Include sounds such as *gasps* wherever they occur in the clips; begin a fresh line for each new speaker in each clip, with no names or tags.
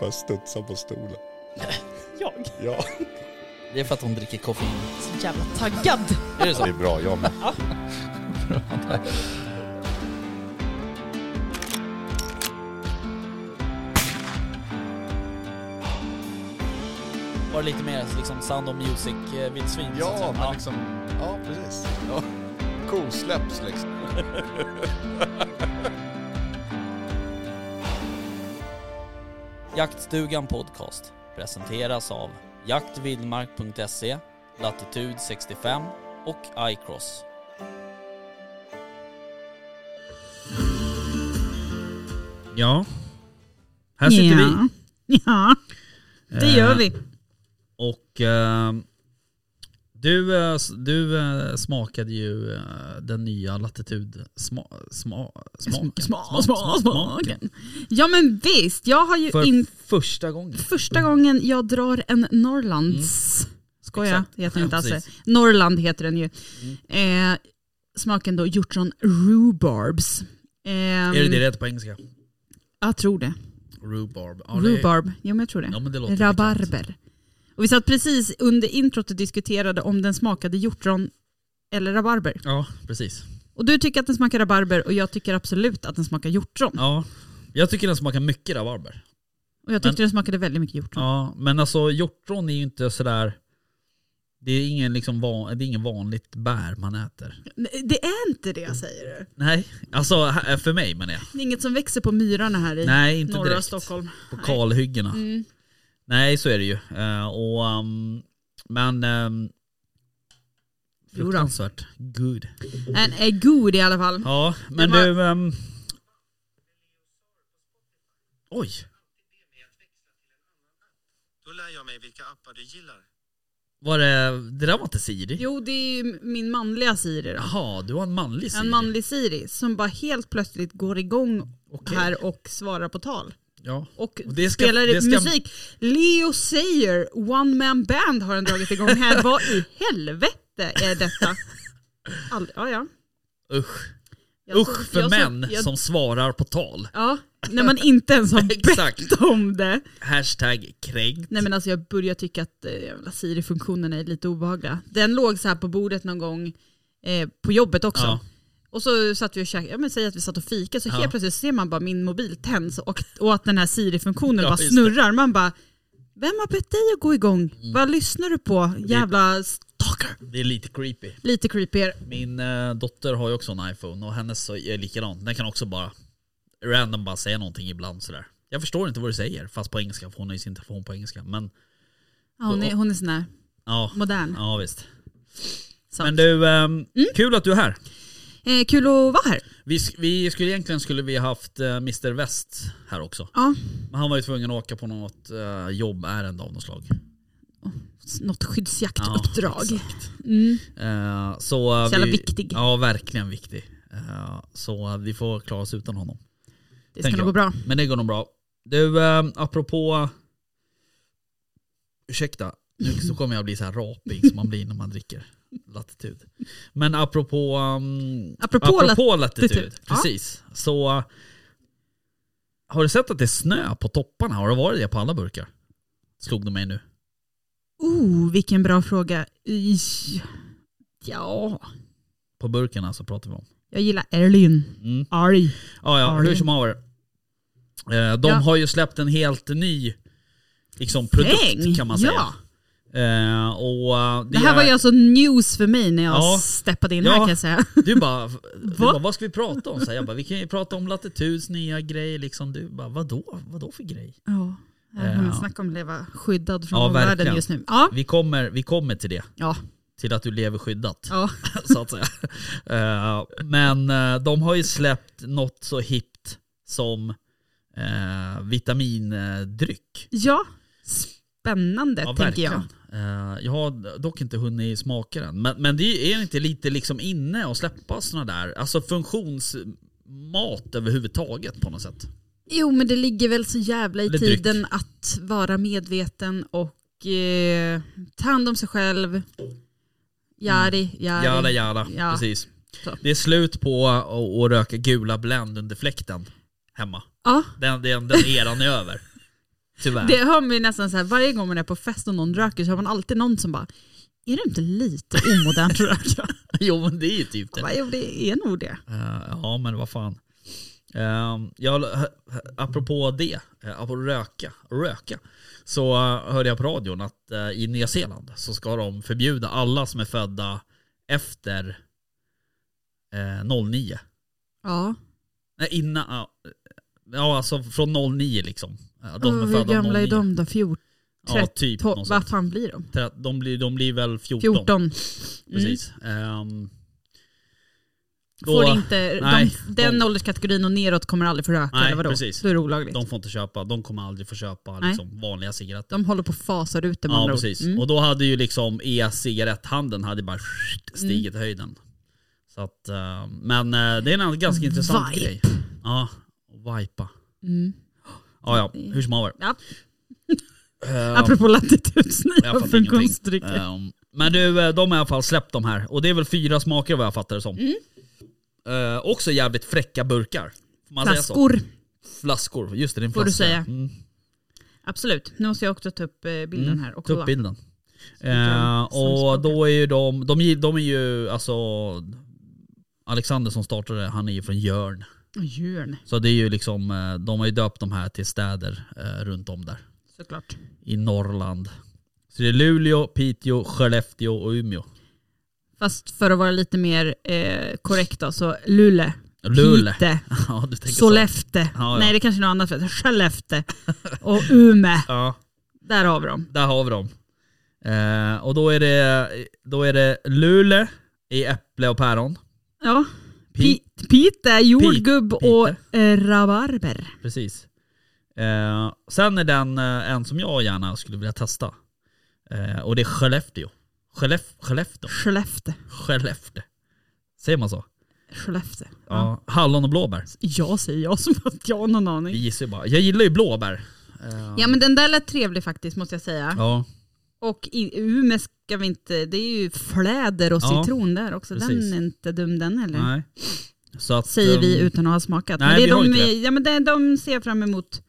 Bara studsa på stolen.
Jag?
Ja.
Det är för att hon dricker koffein.
Så jävla taggad.
Är det så?
Det är bra, jag med.
Var det lite mer liksom sound of music-vildsvin?
Ja, men liksom... Ja, precis. Ja. Kosläpps liksom.
Jaktstugan Podcast presenteras av jaktvildmark.se, Latitude 65 och iCross. Ja, här sitter vi.
ja. Ja, det gör
Eh,
vi.
Och eh, du, eh, s- du eh, smakade ju eh, den nya Latitude sma, sma, smaken.
Sma- sma- smaken. Ja men visst, jag har ju
För Mm.
in
första gången.
första gången jag drar en Norrlands. Skoja,
Mm. Exakt.
heter den inte
Ja,
alls det.
precis. Mm.
Norrland heter den ju. Eh, smaken då hjortron rhubarbs. Eh,
Är det det rätt på engelska?
Jag tror det.
Rhubarb. Ja, det är-
Rhubarb, jo men jag tror det.
Ja, men det låter bekant.
Rabarber. Och vi satt precis under introt och diskuterade om den smakade hjortron eller rabarber.
Ja, precis.
Och du tycker att den smakar rabarber och jag tycker absolut att den smakar hjortron.
Ja. Jag tycker den smakar mycket rabarber.
Och jag tyckte den smakade väldigt mycket hjortron.
Ja, men alltså hjortron är ju inte sådär... Det är ingen, liksom van, det är ingen vanligt bär man äter.
Nej, eh, Det är inte det säger du.
Nej, alltså här- för mig menar jag.
Det är inget som växer på myrarna här i
Nej, inte
norra
direkt.
Stockholm.
På kalhyggena. Nej, så är det ju. Eh, och, ehm, men ehm,
Jodå.
fruktansvärt good.
Den är god i alla fall.
Ja, men
var-
du... ehm, oj!
Då lär jag mig vilka appar du gillar.
Var det, det där var inte Siri?
Jo, det är ju min manliga Siri då.
Jaha, du har en manlig Siri.
En manlig Siri som bara helt plötsligt går igång
Okej.
här och svarar på tal.
Ja.
Och,
Och det ska-
spelar
det ska-
musik. Leo Sayer, One Man Band har den dragit igång här. Vad i helvete är
*laughs*
detta? All, ja, ja.
Usch.
Jag såg-
Usch för
jag såg-
män
jag-
som svarar på tal.
Ja, när man inte ens har
*laughs* Exakt.
bett om det.
Hashtag kränkt.
Nej men alltså jag börjar tycka att eh, jävla Siri-funktionen är lite obehagliga. Den låg så här på bordet någon gång eh, på jobbet också.
Ja.
Och så satt vi och käkade, ja men säg att vi satt och fika så
Ja.
helt plötsligt ser man bara min mobil tänds och, och att den här Siri-funktionen
Ja,
bara
just
snurrar. Man bara, vem har bett dig att gå igång?
Mm.
Vad lyssnar du på? Jävla stalker.
Det är lite creepy.
Lite creepier.
Min eh, dotter har ju också en iPhone och hennes så är likadan. Den kan också bara random bara säga någonting ibland sådär. Jag förstår inte vad du säger, fast på engelska, för hon har ju sin telefon på engelska. Men
Ja, hon, är, hon är sån här
ja,
modern.
ja visst.
Sant.
Men du, ehm,
Mm.
kul att du är här.
eh, kul att vara här.
Vi, sk- vi skulle egentligen skulle vi haft eh, Mr West här också.
Ja,
Men han var ju tvungen att åka på något eh, jobbärende av något slag.
något
Ja,
skyddsjaktuppdrag.
exakt.
mm.
Eh, så, eh,
Så jävla
vi-
viktig.
Ja, verkligen viktig. Eh, så eh, vi får klara oss utan honom.
Det ska
tänker
nog gå
jag.
bra.
Men det går nog bra. Du, eh, apropå... Ursäkta, nu så kommer jag bli så här rapig som man blir när man dricker latitud. Men apropå... Um,
Apropå
latitud,
latitud, ja.
precis. Så... eh, Har du sett att det är snö på topparna? Har det varit det på alla burkar? Slog de mig nu.
Oh, vilken bra fråga. Ish. Ja,
På burken alltså pratar vi om.
jag gillar Erlin.
Mm.
Arg.
Ja, ja,
Har du?
hur som haver. Eh, De
Ja.
har ju släppt en helt ny liksom, produkt
Däng.
kan man säga.
Ja.
Eh, och, eh,
Det här var ju alltså news för mig när jag
Ja.
steppade in
Ja.
här kan
*laughs*
jag säga.
Du bara, du
*laughs* Va?
bara, vad ska vi prata om? Så här, jag bara, vi kan ju prata om Latituds nya grej. Liksom. Du bara, vadå? Vadå för grej?
Ja.
Ja.
Äh, snacka om att leva skyddad från
Ja,
omvärlden
verkligen.
just nu. Ja.
Vi kommer, vi kommer till det,
Ja.
till att du lever skyddat.
ja.
*laughs* Så att säga. Eh, men eh, de har ju släppt något så hippt som eh, vitamindryck.
ja. Spännande tänker jag.
Eh, jag har dock inte hunnit smaka den. Men, men det är inte lite liksom inne att släppa sådana där, alltså funktionsmat överhuvudtaget på något sätt.
Jo men det ligger väl så jävla i
Eller dryck.
tiden att vara medveten och eh, ta hand om sig själv. Jari, jari.
Jada jada,
Ja.
precis.
Så.
Det är slut på att- att röka gula Blend under fläkten. hemma.
Ja,
Den, den, den eran är över. Tyvärr.
det hör man ju nästan så här, varje gång man är på fest och någon röker så har man alltid någon som bara, är det inte lite omodernt att röka?
*laughs* Jo men det är ju typ det.
Jag bara, jo det är nog det.
Eh, ja men vad fan. Eh, jag, apropå det, eh, apropå röka, röka. Så eh, hörde jag på radion att eh, i Nya Zeeland så ska de förbjuda alla som är födda efter eh, 09.
Ja,
Nej innan, ja, eh, ja alltså från 09 liksom. Eh, De
de
som är
hur
födda
gamla
09.
är de då? 14?
Ja typ
Tolv-
något sånt.
Vad fan blir de?
Tre- De blir, de blir väl 14.
14. Mm.
Precis. Ehm, då-
Får inte,
nej,
de, den
de-
ålderskategorin och neråt kommer aldrig få röka
Nej,
eller vadå?
precis.
Då är det olagligt.
De
De,
får inte köpa, de kommer aldrig få köpa
Nej.
liksom, vanliga cigaretter.
håller på och fasar ut det med
Ja
andra ord.
precis.
Mm.
Och då hade ju liksom e-cigaretthandeln hade bara stigit
Mm.
i höjden. Så att, eh, men eh, det är en ganska intressant
Vipe.
grej. Ja, vipa.
Mm.
Ja, ja, hur som haver.
Ja.
Eh,
Apropå
jag
latitudsnivå
fattar
för
ingenting.
konstdrycker.
Ehm, men du, eh, de har i alla fall släppt de här. Och det är väl fyra smaker vad jag fattar det som.
Mm.
Eh, också jävligt fräcka burkar. Får man säga så?
Flaskor,
Flaskor. Just det, det är en
Får du
flaska.
säga.
Mm.
absolut. Nu måste jag också ta upp eh, bilden här och
Ta
kolla.
upp bilden.
kan
Eh, och
samspråka.
då är ju de, de, är- de är ju alltså Alexander som startade han är ju från Jörn.
Och djuren,
Så det är ju liksom, eh, de har ju döpt de här till städer eh, runt om där.
såklart.
I Norrland. Så det är Luleå, Piteå, Skellefteå och Umeå.
Fast för att vara lite mer eh, korrekt då, så Luleå,
Luleå.
Pite,
*laughs* Ja, du tänker så.
Sollefteå,
ja.
nej det kanske är något annat, för
*laughs*
det. Skellefteå och Ume.
Ja,
Där har vi dem.
där har vi dem. Eh, och då är det, då är det Luleå i äpple och päron.
Ja.
Pi-
Pi- Pite, jordgubb
Pite.
och eh, rabarber.
Precis. Eh, sen är den eh, en som jag gärna skulle vilja testa. Eh, och det är Skellefteå. Skellef- Skellefteå.
Skellefteå.
Skellefteå. Säger man så?
Skellefteå. Ja.
Ja. Hallon och blåbär.
Jag säger jag som att jag har någon
Vi
aning.
gissar ju bara. Jag gillar ju blåbär. Eh,
Ja men den där lät trevlig faktiskt måste jag säga.
ja,
Och i Umeå ska vi inte, det är ju fläder och
Ja,
citron där också.
precis.
Den är inte dum den heller.
nej. Så att,
Säger vi
ehm,
utan att ha smakat.
nej,
men det
vi har
är de,
inte det.
vi- ja, men det, de ser jag fram emot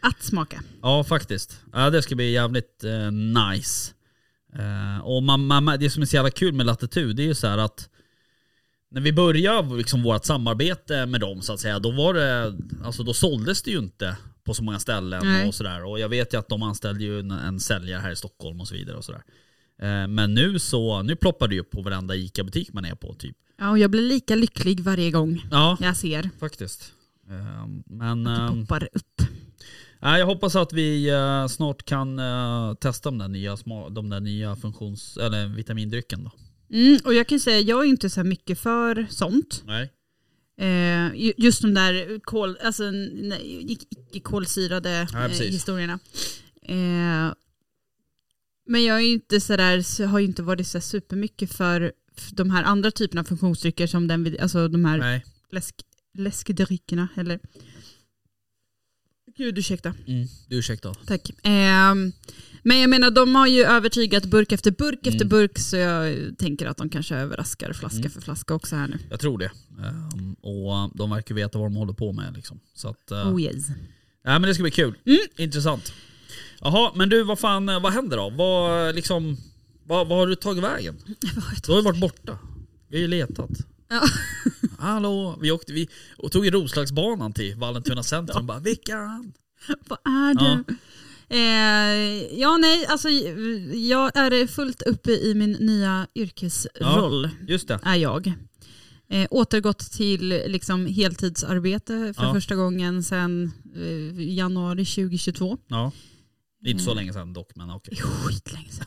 att smaka.
Ja faktiskt. Ja, det ska bli jävligt eh, nice. Eh, och man, man, det som är så jävla kul med Latitud det är ju så här att när vi började liksom vårt samarbete med dem så att säga, då var det, alltså då såldes det ju inte på så många ställen
Nej.
och sådär. Och jag vet ju att de anställde ju en, en säljare här i Stockholm och så vidare och sådär. Eh, men nu så, nu ploppar det ju upp på varenda ICA-butik man är på typ.
Ja, och jag blir lika lycklig varje gång
Ja,
jag ser att
faktiskt. Eh, men...
det
ehm,
poppar upp.
Nej, jag hoppas att vi eh, snart kan eh, testa de där nya, sma- de där nya funktions eller vitamindrycken då.
Mm, och jag kan ju säga, jag är inte så här mycket för sånt.
Nej.
Eh, ju- just de där kol, alltså, nej, ic- icke-kolsyrade
Ja,
eh,
precis.
historierna. Eh, men jag är ju inte sådär, så har ju inte varit så här supermycket för f- de här andra typerna av funktionsdrycker som den, vid- alltså de här
Nej.
läsk, läskdryckerna. Eller... Gud ursäkta,
Mm. Du ursäkta.
tack. Eh, men jag menar de har ju övertygat burk efter burk efter
Mm.
burk så jag tänker att de kanske överraskar flaska
Mm.
för flaska också här nu.
Jag tror det. Ehm, och de verkar veta vad de håller på med liksom. Så att, eh,
Oh yes. *laughs*
nej, men det ska bli kul. Intressant. Jaha, men du vad fan, eh, vad händer då? Vad, liksom, vad, vad har du tagit vägen? Du har ju varit borta. Vi har ju letat.
Ja. *laughs*
Hallå, vi åkte, vi och tog ju Roslagsbanan till Vallentuna centrum bara Vickan!
Vad
Ja.
är du? Ja. Eh, ja, nej, alltså jag är fullt uppe i min nya yrkesroll,
Just det.
är jag. Eh, återgått till liksom, heltidsarbete för
Ja.
första gången sedan eh, januari 2022.
Ja. Det är inte så
Mm.
länge sedan dock, men okej. *laughs*
Det är skitlänge sedan.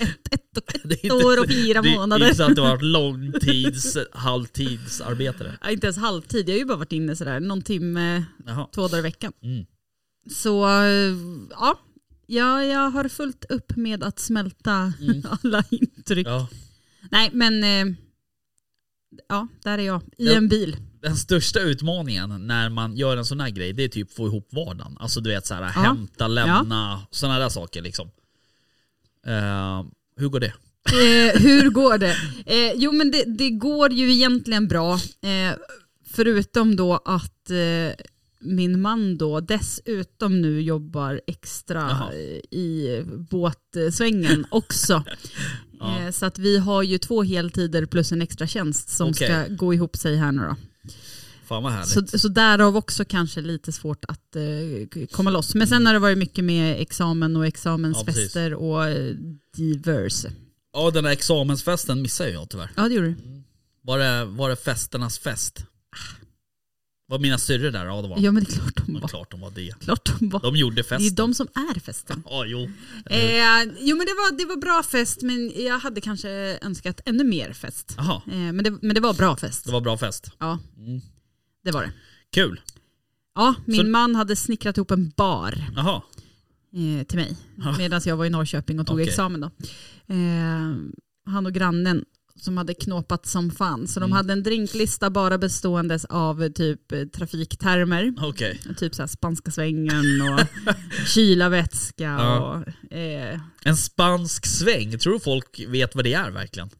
Ett, ett, och,
Det är
ett år och fyra
det är- Det är
månader.
inte så att du har varit långtids, halvtidsarbetare.
Ja, inte ens halvtid, jag har ju bara varit inne sådär någon timme,
Jaha.
två dagar i veckan.
Mm.
Så eh, ja, jag, jag har fullt upp med att smälta
Mm.
*laughs* alla intryck.
Ja.
Nej, men eh, ja, där är jag. I
Ja.
en bil.
Den största utmaningen när man gör en sån här grej, det är typ få ihop vardagen. Alltså du vet så här, hämta, lämna, såna där saker liksom. Eh, hur går det?
Eh, hur går det? Eh, jo, men det, det går ju egentligen bra. Eh, förutom då att eh, min man då dessutom nu jobbar extra
Jaha.
eh, i
*laughs*
båtsvängen också.
Ja.
Eh, Så att vi har ju två heltider plus en extra tjänst som
Okej.
ska gå ihop sig här nu då.
Fan vad härligt.
Så, så därav också kanske lite svårt att eh, k- komma loss. Men
Mm.
sen har det varit mycket med examen och examensfester och eh, diverse.
Ja den här examensfesten missade jag tyvärr.
Ja det gjorde du.
Var det, var det festernas fest? Var mina syrror där? Ja det var de.
Ja men det är klart de
Men
var.
klart de var det.
Klart de var.
De gjorde
Det är
festen.
de som är festen.
Ja jo.
Eh, jo men det var, det var bra fest men jag hade kanske önskat ännu mer fest.
Jaha,
Eh, men, det, men det var bra fest.
det var bra fest.
Ja,
Mm.
det var det.
Kul.
Ja, min
Så-
man hade snickrat ihop en bar.
Jaha.
eh, till mig medan jag var i Norrköping och tog
Okej.
examen. Då. Eh, han och grannen som hade knåpat som fan. Så
Mm.
de hade en drinklista bara beståendes av eh, typ eh, trafiktermer.
Okej.
Typ så här spanska svängen och kyla vätska.
Ja.
Och, eh,
En spansk sväng. Tror du folk vet vad det är verkligen?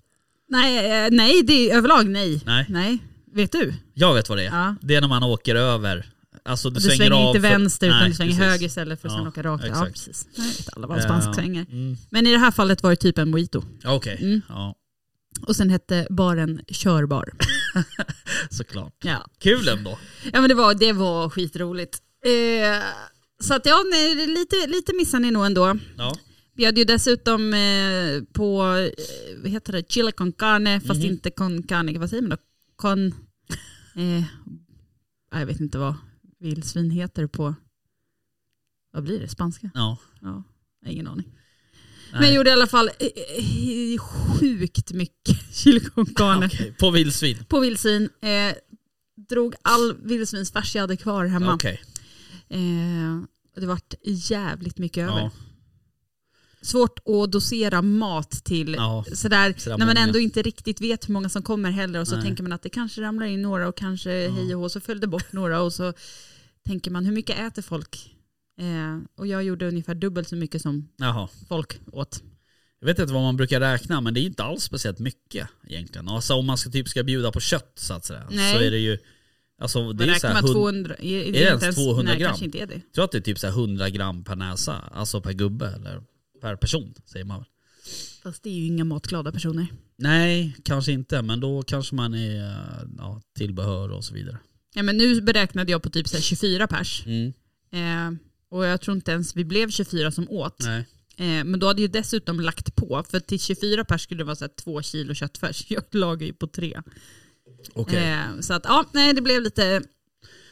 nej, eh, nej, det är överlag nej.
Nej.
Vet du?
Jag vet vad det är.
Ja.
Det är när man åker över. Alltså du,
Du svänger,
av för-
inte vänster utan
Nej,
du svänger
precis.
höger istället för att
Ja,
sen åka rakt. Ja,
exakt.
precis. Nej, Jag vet alla vad en spansk
Eh,
svänger.
Mm.
Men i det här fallet var det typ en mojito.
Ja, Okej,
Mm.
ja,
Och sen hette baren
*laughs*
Körbar.
såklart.
Ja.
Kul ändå.
Ja men det var, det var skitroligt. Eh, så att ja, nej, det är lite, lite missar ni nog ändå.
Ja.
Vi hade ju dessutom eh, på, eh, vad heter det, chili con carne, fast
Mhm.
inte con carne, vad säger man då? Con, eh, jag vet inte vad vildsvin heter på, vad blir det, spanska?
Ja.
Ja, jag har ingen aning. Men
Nej.
jag gjorde i alla fall eh, eh, sjukt mycket *laughs* chili con carne
Okej, På vildsvin.
på vildsvin. Eh, drog all vildsvinsfärs jag hade kvar hemma.
Okej.
Eh, och det vart jävligt mycket över.
Ja.
Svårt att dosera mat till
Ja.
sådär,
Sådär
när man
många.
ändå inte riktigt vet hur många som kommer heller och så
Nej.
tänker man att det kanske ramlar in några och kanske hej och hå, så föll det bort några och så tänker man hur mycket äter folk? Eh, och jag gjorde ungefär dubbelt så mycket som
Jaha.
folk åt.
Jag vet inte vad man brukar räkna men det är inte alls speciellt mycket egentligen. Alltså om man ska, typ ska bjuda på kött så att säga.
Nej.
Så är det ju, alltså det
Man
är ju så
räknar
här,
med
hund,
200, är, är
det ens
inte
200
nej,
gram?
kanske inte är det.
jag tror att det är typ så här 100 gram per näsa, alltså per gubbe eller per person säger man väl.
Fast det är ju inga matglada personer.
Nej, kanske inte, men då kanske man är eh, ja, tillbehör och så vidare.
Ja, men nu beräknade jag på typ så här 24 pers.
Mm.
Eh, och jag tror inte ens vi blev 24 som åt.
Nej.
Eh, men då hade jag dessutom lagt på, för till 24 pers skulle det vara så här två kilo köttfärs. *laughs* Jag lagar ju på tre.
Okej.
Eh, så att ja, nej det blev lite,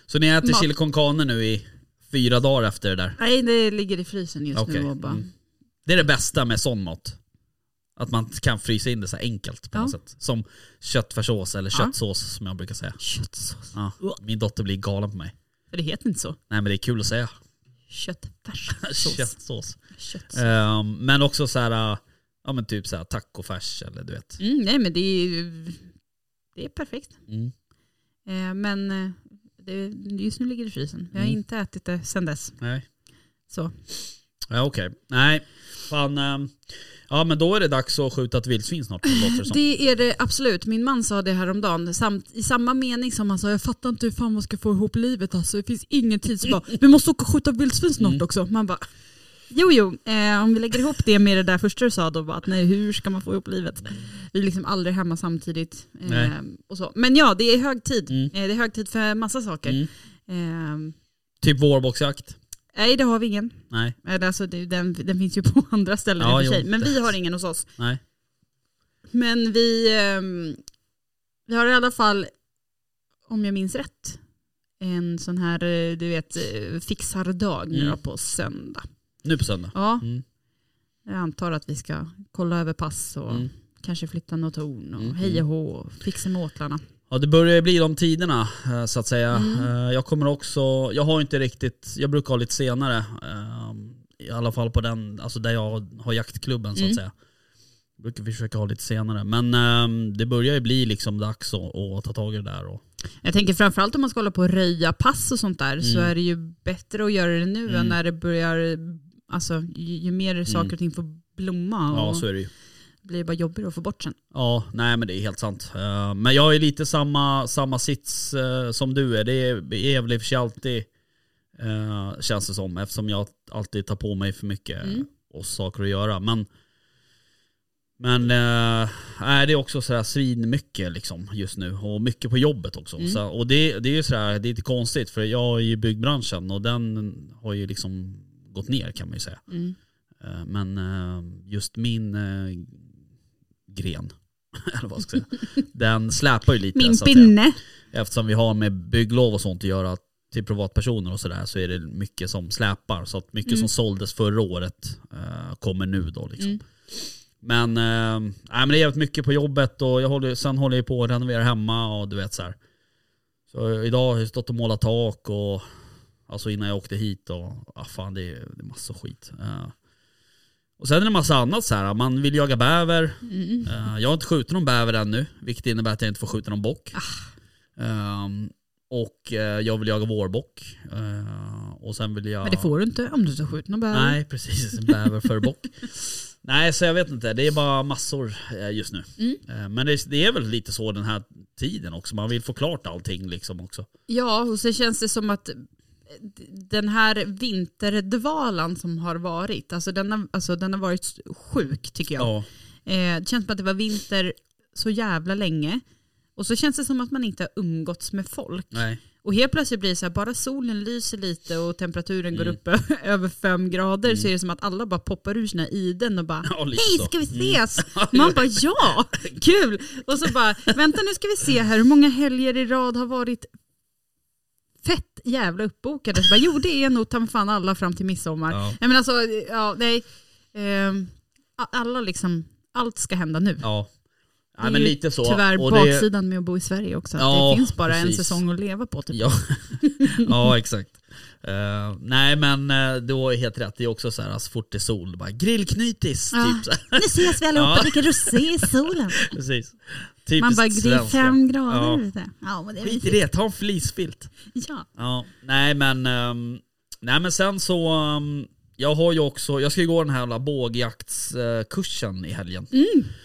Så ni äter
mat.
chili con carne nu i fyra dagar efter det där?
nej det ligger i frysen just
Okej,
nu och bara,
mm. Det är det bästa med sån mat. Att man kan frysa in det så här enkelt på
Ja.
något sätt. Som köttfärssås eller
Ja.
köttsås som jag brukar säga.
köttsås.
Ja. Min dotter blir galen på mig.
För det heter inte så.
Nej men det är kul att säga. *laughs*
Köttfärssås.
Köttsås.
Köttsås.
Ehm, men också så här, äh, ja men typ så här tacofärs eller du vet.
Mm, nej men det är ju, det är perfekt.
Mm.
Eh, men eh, det, just nu ligger det i frysen. Jag har
Mm.
inte ätit det sedan dess.
Nej.
Så.
Ja, Okej, nej. Fan, ehm, ja men då är det dags att skjuta ett vildsvin snart låter det som.
Det är det absolut. Min man sa det häromdagen. Samt, I samma mening som han sa, jag fattar inte hur fan man ska få ihop livet. Alltså, det finns ingen
*laughs*
tid. Så bara, vi måste åka och skjuta vildsvin snart
Mm.
också. Man bara, jo jo, eh, om vi lägger ihop det med det där första du sa då, bara, att nej, hur ska man få ihop livet? Vi är liksom aldrig hemma samtidigt. Eh,
Nej.
och så. Men ja, det är hög tid.
Mm.
Eh, det är hög tid för massa saker. Eh,
Typ vårboxjakt?
nej, det har vi ingen.
Nej,
Eller, Alltså, det, den, den finns ju på *laughs* andra ställen
Ja,
i och för sig.
jo.
Men vi har ingen hos oss.
nej.
Men vi, ehm, vi har i alla fall, om jag minns rätt, en sån här eh, du vet, eh, fixardag nu då
Mm.
på söndag.
Nu på söndag.
Ja,
Mm.
jag antar att vi ska kolla över pass och
Mm.
kanske flytta något torn och
Mm.
hej och hå och fixa med åtlarna.
Ja det börjar ju bli de tiderna eh, så att säga.
Mm.
Eh, Jag kommer också, jag har inte riktigt, jag brukar ha lite senare. eh, I alla fall på den, alltså där jag har jaktklubben så att
Mm.
säga. Jag brukar försöka ha lite senare. Men eh, det börjar ju bli liksom dags att, att ta tag i det där. Och,
Jag tänker framförallt om man ska hålla på och röja pass och sånt där så
Mm.
är det ju bättre att göra det nu
Mm.
än när det börjar, alltså ju, ju mer saker och ting får blomma och
ja så är det ju.
blir det bara jobbigare att få bort sen.
Ja, nej men det är helt sant. Eh, Men jag är lite samma, samma sits eh, som du är. Det är är väl i och för sig alltid Eh, känns det som eftersom jag alltid tar på mig för mycket eh,
Mm.
och saker att göra. Men, men eh, nej, det är också sådär svinmycket liksom just nu och mycket på jobbet också.
Mm.
Så, och det, det är ju sådär, det är lite konstigt för jag är ju i byggbranschen och den har ju liksom gått ner kan man ju säga.
Mm.
Eh, Men eh, just min eh, gren, *laughs* eller vad ska jag säga,
*laughs*
den släpar ju lite.
Min
så att säga.
pinne.
Eftersom vi har med bygglov och sånt att göra till privatpersoner och sådär så är det mycket som släpar. Så att mycket
Mm.
som såldes förra året eh, kommer nu då liksom.
Mm.
Men, eh, nej, men det är jävligt mycket på jobbet och jag håller, sen håller jag på att renovera hemma och du vet så här. Så idag har jag stått och målat tak och alltså innan jag åkte hit och ah, fan det är, det är massa skit. Eh, och sen är det massa annat så här. man vill jaga bäver.
Mm.
Eh, jag har inte skjutit någon bäver ännu, vilket innebär att jag inte får skjuta någon bock.
Ah.
Ehm, och eh, jag vill jaga vårbock. Eh, och sen vill jag...
Men det får du inte om du inte har skjutit någon bäver.
Nej, precis. *laughs* Bäver för bock. Nej, så jag vet inte. Det är bara massor eh, just nu.
Mm.
Eh, Men det, det är väl lite så den här tiden också. Man vill få klart allting liksom också.
Ja, och så känns det som att eh, den här vinterdvalan som har varit, alltså den har, alltså den har varit sjuk tycker jag.
Ja.
Eh, det känns som att det var vinter så jävla länge. Och så känns det som att man inte har umgåtts med folk.
Nej. *laughs*
Och helt plötsligt blir det så här, bara solen lyser lite och temperaturen går
Mm.
upp ö- *laughs* över fem grader så är det som att alla bara poppar ur sina iden och bara
Ja, lite så. Mm.
Hej, ska vi ses?
*laughs*
Man bara ja, kul! Och så bara, vänta nu ska vi se här, hur många helger i rad har varit fett jävla uppbokade? Så bara, jo det är nog ta mig fan alla fram till midsommar.
Ja.
Nej men alltså, ja nej. Ehm, a- alla liksom, allt ska hända nu.
Ja.
Det
Nej,
är
men
ju
lite så.
Tyvärr
Och det-
baksidan med att bo i Sverige också. att
Ja,
det finns bara
precis.
en säsong att leva på. Typ.
*laughs* Ja, ja exakt. Eh, nej men eh, du har ju helt rätt, det är också så här så fort det är sol, bara grillknytis.
Ja.
Typ så här. *laughs*
Nu ses vi allihopa
Ja.
och dricker rosé
*laughs*
i solen.
Precis. Typiskt
Man bara, det är
svenska.
fem grader
Ja.
ute. Ja, men det är
Skit i det, ta en fleecefilt.
ja.
Ja, nej men, ehm, nej men sen så, ehm, jag har ju också, jag ska ju gå den här jävla bågjaktskursen eh, i helgen.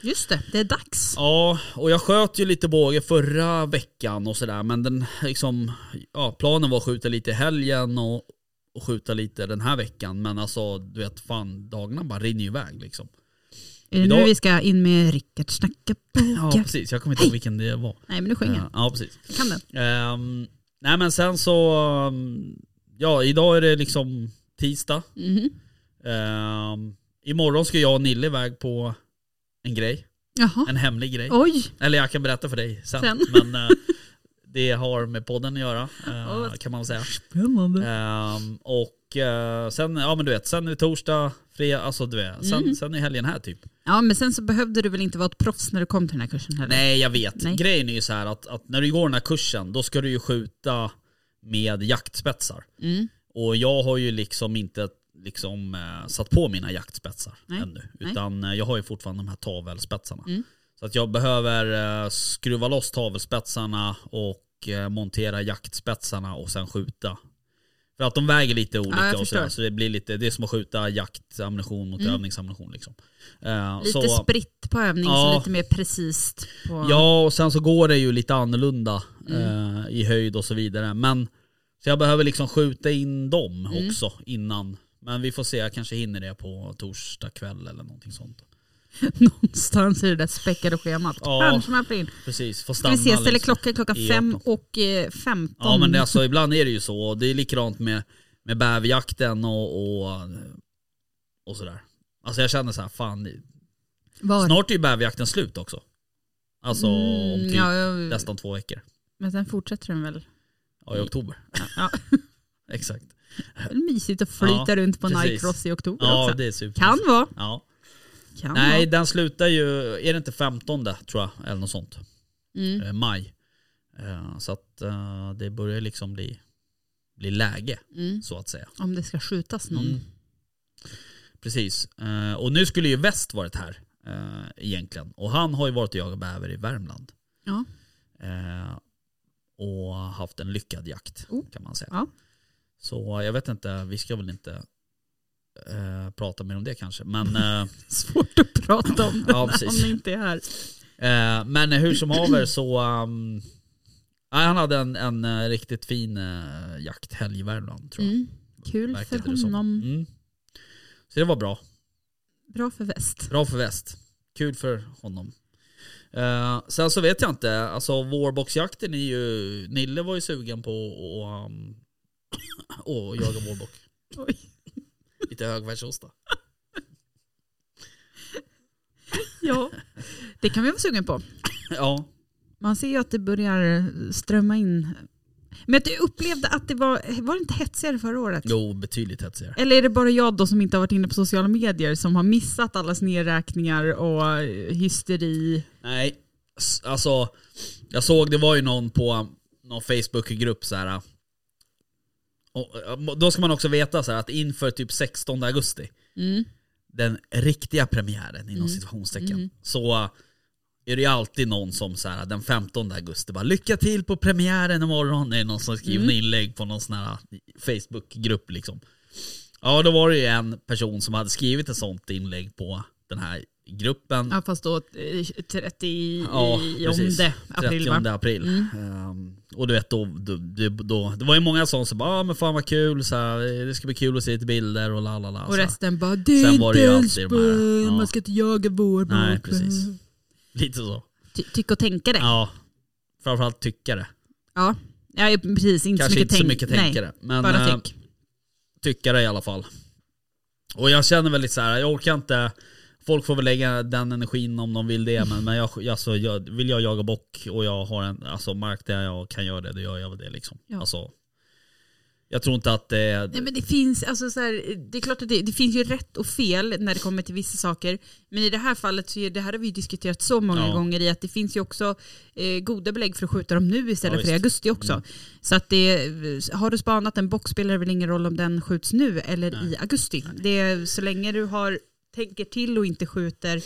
Just det, det är dags.
Ja, och jag sköt ju lite båge förra veckan och sådär men den liksom, ja planen var att skjuta lite i helgen och, och skjuta lite den här veckan men alltså du vet fan dagarna bara rinner ju iväg liksom.
Är det
Idag-
Eh, nu vi ska in med Rickard snacka
Ja
boka?
precis, jag kommer inte ihåg vilken det var.
Nej men nu sjöng jag.
Ja precis.
Jag Kan den.
Ehm, nej men sen så, ehm, ja idag är det liksom tisdag.
Mhm.
Ehm, imorgon ska jag och Nille iväg på en grej,
Jaha.
en hemlig grej.
Oj,
Eller jag kan berätta för dig sen.
Sen.
*laughs* Men eh, det har med podden att göra eh,
Åh, vad
kan man säga.
spännande.
Ehm, och eh, sen, ja men du vet, sen är det torsdag, fredag, alltså du vet, sen,
Mm.
sen är helgen här typ.
Ja men sen så behövde du väl inte vara ett proffs när du kom till den här kursen heller?
Nej jag vet.
Nej.
Grejen är ju så här att, att när du går den här kursen då ska du ju skjuta med jaktspetsar.
Mm.
Och jag har ju liksom inte liksom, eh, satt på mina jaktspetsar
Nej.
ännu.
Nej.
Utan eh, jag har ju fortfarande de här tavelspetsarna.
Mm.
Så att jag behöver eh, skruva loss tavelspetsarna och eh, montera jaktspetsarna och sen skjuta. För att de väger lite olika
jag
och sådär,
förstår.
så det blir lite, det är som att skjuta jaktammunition mot
Mm.
övningsammunition liksom. Eh,
Lite
så-
spritt på övning
Ja.
så lite mer precis. På...
Ja, och sen så går det ju lite annorlunda
Mm.
eh, i höjd och så vidare. Men så jag behöver liksom skjuta in dem
Mm.
också innan. Men vi får se, jag kanske hinner det på torsdag kväll eller någonting sånt.
Någonstans i det där späckade schemat.
Ja.
Kanske man får in.
Precis, får
Ska
stanna.
vi ses, ställer
liksom.
klockan klockan
i
fem
Jokkmokk.
och eh, femton.
Ja men det, alltså, ibland är det ju så. Och Det är likadant med, med bäverjakten och, och, och sådär. Alltså jag känner så här, fan det-
Var?
snart är ju bäverjakten slut också. Alltså om
Mm,
typ
ja, jag-
nästan två veckor.
Men sen fortsätter den väl?
Ja, i oktober.
Ja.
*laughs* Exakt.
Det är väl mysigt att flyta
Ja,
runt på en
precis.
iCross i oktober
Ja
också.
det är super.
Kan vara.
Ja.
Kan
Nej, den slutar ju, är det inte 15 tror jag, eller något sånt,
vara. Mm.
eh, maj. Eh, Så att eh, det börjar liksom bli, bli läge,
Mm.
så att säga.
Om det ska skjutas någon.
Mm. Precis. Eh, Och nu skulle ju Väst varit här eh, egentligen. Och han har ju varit och jagat bäver i Värmland.
Ja.
Eh, Och haft en lyckad jakt,
Oh.
kan man säga.
Ja.
Så jag vet inte, vi ska väl inte eh, prata mer om det kanske. Men eh,
*laughs* *laughs* Svårt att prata om
Ja,
om
precis.
det inte är här.
Eh, men hur som haver så, ehm, Nej, han hade en, en eh, riktigt fin eh, jakthelg i Värmland tror jag.
Mm. Kul för
Verkade det som.
honom.
Mm. Så det var bra.
Bra
*laughs*
för väst.
Bra för väst. Kul för honom. Eh, sen så vet jag inte, alltså vårbocksjakten är ju, Nille var ju sugen på att um, *coughs* och jaga vårbock.
Oj.
Lite högfärdsostar.
Ja, det kan vi vara sugen på.
Ja.
Man ser ju att det börjar eh, strömma in. Men att du upplevde att det var, var det intehetsigare förra året?
Jo, betydligt hetsigare.
Eller är det bara jag då som inte har varit inne på sociala medier som har missat allas nedräkningar och eh, hysteri?
Nej, s- alltså jag såg det var ju någon på um, någon Facebookgrupp så här. uh, Och, eh, då ska man också veta så här att inför typ 16 augusti, Mm. den riktiga premiären inom situationstecken, så eh, är det ju alltid någon som så här uh, den 15 augusti bara lycka till på premiären imorgon. Det är någon som skriver en inlägg på någon sån här uh, Facebookgrupp liksom. Ja, då var det ju en person som hade skrivit ett sånt inlägg på den här gruppen
Ja fast då eh, 30 i- i
precis. alltså.
omde april
30
va? Mm.
april. Ehm, och du vet då, då, då, då, det var ju många sådana som bara ah, men fan vad kul, så här, det ska bli kul att se lite bilder och la la la.
Och
så här.
resten bara det är
Sen var det ju
inte
alltid de här,
Älvsborg,
ja.
man ska inte jaga vår
Nej
bok."
precis. Lite så.
Ty- Tycka och tänka det. Ja,
Ja. Framförallt tyckare.
ja. precis. Inte
Kanske
så mycket,
inte så
tänk-
mycket
nej,
tänkare. Men
Bara
eh,
tänk.
tyckare i alla fall. Och jag känner väl lite så här, jag orkar inte Folk får väl lägga den energin om de vill
*laughs*
det, men, men jag, alltså, jag, vill jag jaga bock och jag har en alltså, mark där jag kan göra det, då gör jag väl det. Liksom.
Ja.
Alltså, jag tror inte att det är...
Nej, men det, finns, alltså, så här, det är klart att det, det finns ju rätt och fel när det kommer till vissa saker. Men i det här fallet, så är, det här har vi ju diskuterat så många
Ja.
gånger i att det finns ju också eh, goda belägg för att skjuta dem nu istället
Ja,
för i
visst. Mm.
augusti också. Så att det, har du spanat en box spelar det väl ingen roll om den skjuts nu eller i augusti. Det, så länge du har, tänker till och inte skjuter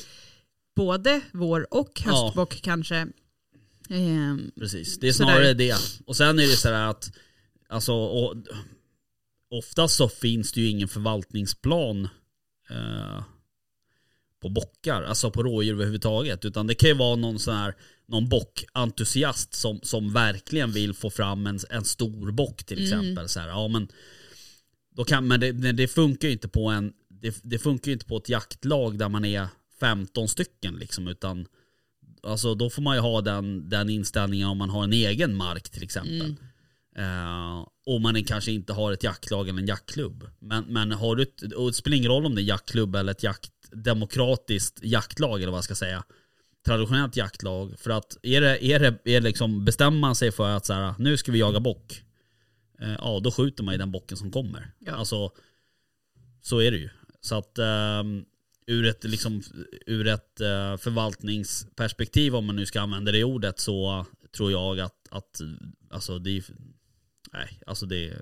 både vår och
Ja.
höstbock kanske. Ehm,
Precis, det är
Sådär.
snarare det. Och sen är det så här att, alltså, och, oftast så finns det ju ingen förvaltningsplan eh, på bockar, alltså på rådjur överhuvudtaget. Utan det kan ju vara någon sån här, någon bockentusiast som, som verkligen vill få fram en, en stor bock till exempel. Så här, ja, men då kan, men det, det det funkar ju inte på en, det, det funkar ju inte på ett jaktlag där man är 15 stycken liksom, utan alltså då får man ju ha den, den inställningen om man har en egen mark till exempel. Eh, och man är- kanske inte har ett jaktlag eller en jaktklubb. Men, men har du ett, och det spelar ingen roll om det är en jaktklubb eller ett jakt, demokratiskt jaktlag eller vad jag ska säga. Traditionellt jaktlag. För att är det, är det, är det liksom, bestämmer man sig för att så här, nu ska vi jaga bock. Eh, ja, då skjuter man ju den bocken som kommer.
Ja.
Alltså, så är det ju. Så att ehm, ur ett, liksom, ur ett eh, förvaltningsperspektiv, om man nu ska använda det ordet, så tror jag att, att alltså, det, är- nej, alltså det,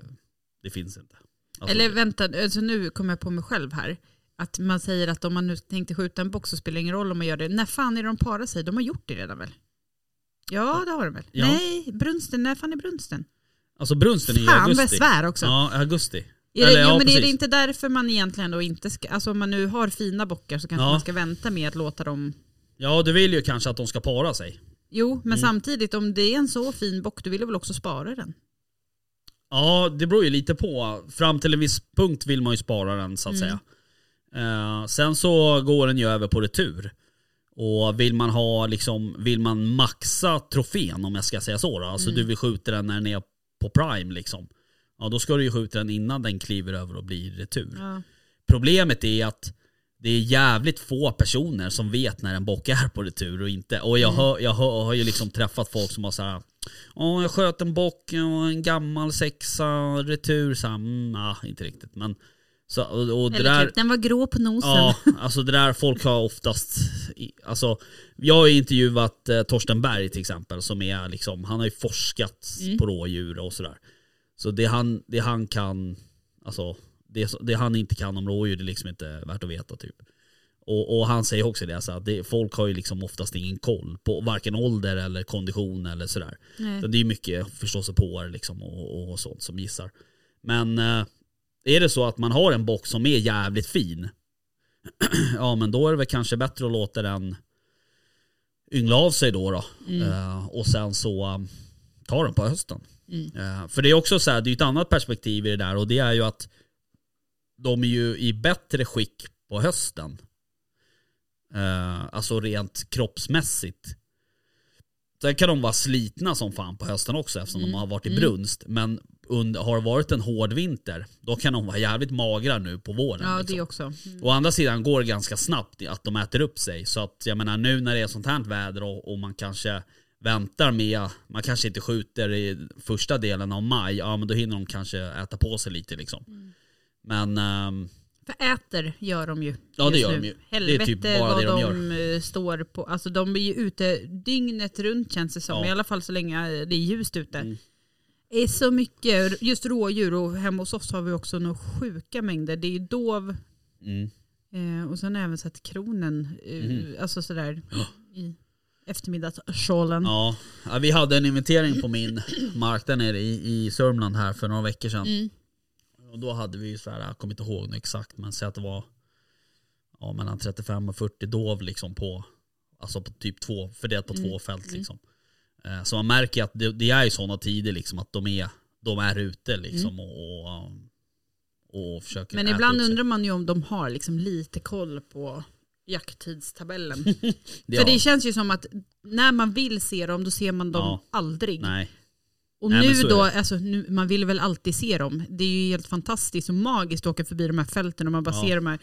det finns inte. Alltså,
Eller vänta, alltså nu kommer jag på mig själv här. Att man säger att om man nu tänkte skjuta en box så spelar det ingen roll om man gör det. När fan är de parar sig? De har gjort det redan väl? Ja, det har de väl?
Ja.
Nej, brunsten. När fan är brunsten?
alltså brunsten är i
Fan vad
augusti.
svär också.
Ja, augusti.
Är det,
Eller,
jo,
ja,
men är det
precis.
inte därför man egentligen då inte ska, alltså om man nu har fina bockar så kanske
Ja.
man ska vänta med att låta dem
Ja, du vill ju kanske att de ska para sig.
Jo,
Mm.
men samtidigt om det är en så fin bock, du vill du väl också spara den?
Ja, det beror ju lite på. Fram till en viss punkt vill man ju spara den så att säga. Eh, sen så går den ju över på retur. Och vill man ha liksom, vill man maxa trofén om jag ska säga så då. Alltså du vill skjuta den när den är på prime liksom. Ja då ska du ju skjuta den innan den kliver över och blir retur.
Ja.
Problemet är att det är jävligt få personer som vet när en bock är på retur och inte. Och
Mm.
jag, hör, jag hör, har ju liksom träffat folk som har såhär, ja jag sköt en bock, ja, en gammal sexa, retur, såhär, mm, ah, inte riktigt. Men, så, och, och det
Eller
där,
typ, den var grå på nosen.
Ja, alltså det där folk har oftast... i- Alltså, jag har ju intervjuat eh, Torsten Berg till exempel, som är liksom, han har ju forskat på rådjur och sådär. Så det han, det han kan, alltså det, så- det han inte kan om rådjur det är liksom inte värt att veta typ. Och, och han säger också det, så att det, folk har ju liksom oftast ingen koll på varken ålder eller kondition eller sådär.
Nej.
Så det är mycket förståsigpåare liksom och, och sånt som gissar. Men eh, är det så att man har en box som är jävligt fin, *clears throat* ja men då är det väl kanske bättre att låta den yngla av sig då. då. Eh, och sen så, ta den på hösten.
Mm.
Eh, För det är också så här, det är ju ett annat perspektiv i det där och det är ju att de är ju i bättre skick på hösten. Eh, Alltså rent kroppsmässigt. Sen kan de vara slitna som fan på hösten också eftersom
Mm.
de har varit i brunst. Men under, har det varit en hård vinter, då kan de vara jävligt magra nu på våren.
Ja,
liksom.
det också. Mm.
Å andra sidan går det ganska snabbt i att de äter upp sig. Så att jag menar nu när det är sånt här väder och, och man kanske väntar med, man kanske inte skjuter i första delen av maj, ja men då hinner de kanske äta på sig lite liksom. Men ehm,
För äter gör de ju.
Ja, det
just
gör de
nu.
ju. Det är
Helvete
typ bara
vad
det de gör.
eh, står på. Alltså de är ju ute dygnet runt känns det som.
Ja. Mm.
I alla fall så länge eh, det är ljust ute. Det är så mycket, just rådjur och hemma hos oss har vi också några sjuka mängder. Det är ju dov
mm,
eh, och sen har jag även sett kronen, eh,
Mhm.
alltså sådär i eftermiddagssjålen.
ja. ja, vi hade en inventering på min mark där nere i, i Sörmland här för några veckor sedan.
Mm.
Och då hade vi ju så här, jag kommer inte ihåg nu exakt, men säg att det var ja, mellan 35 och 40 dov liksom på, alltså på typ två, fördelat på
Mm.
två fält liksom. Eh, Så man märker ju att det, det är ju sådana tider liksom att de är, de är ute liksom och, och, um, och försöker
Mm. Men
äta
ibland
upp sig.
undrar man ju om de har liksom lite koll på jakttidstabellen.
det,
För
har-
det känns ju som att när man vill se dem då ser man dem
Ja.
aldrig.
Nej,
Och
Nej, men
nu
så är
då,
det.
alltså, nu, man vill väl alltid se dem. Det är ju helt fantastiskt och magiskt att åka förbi de här fälten och man bara
Ja.
ser de här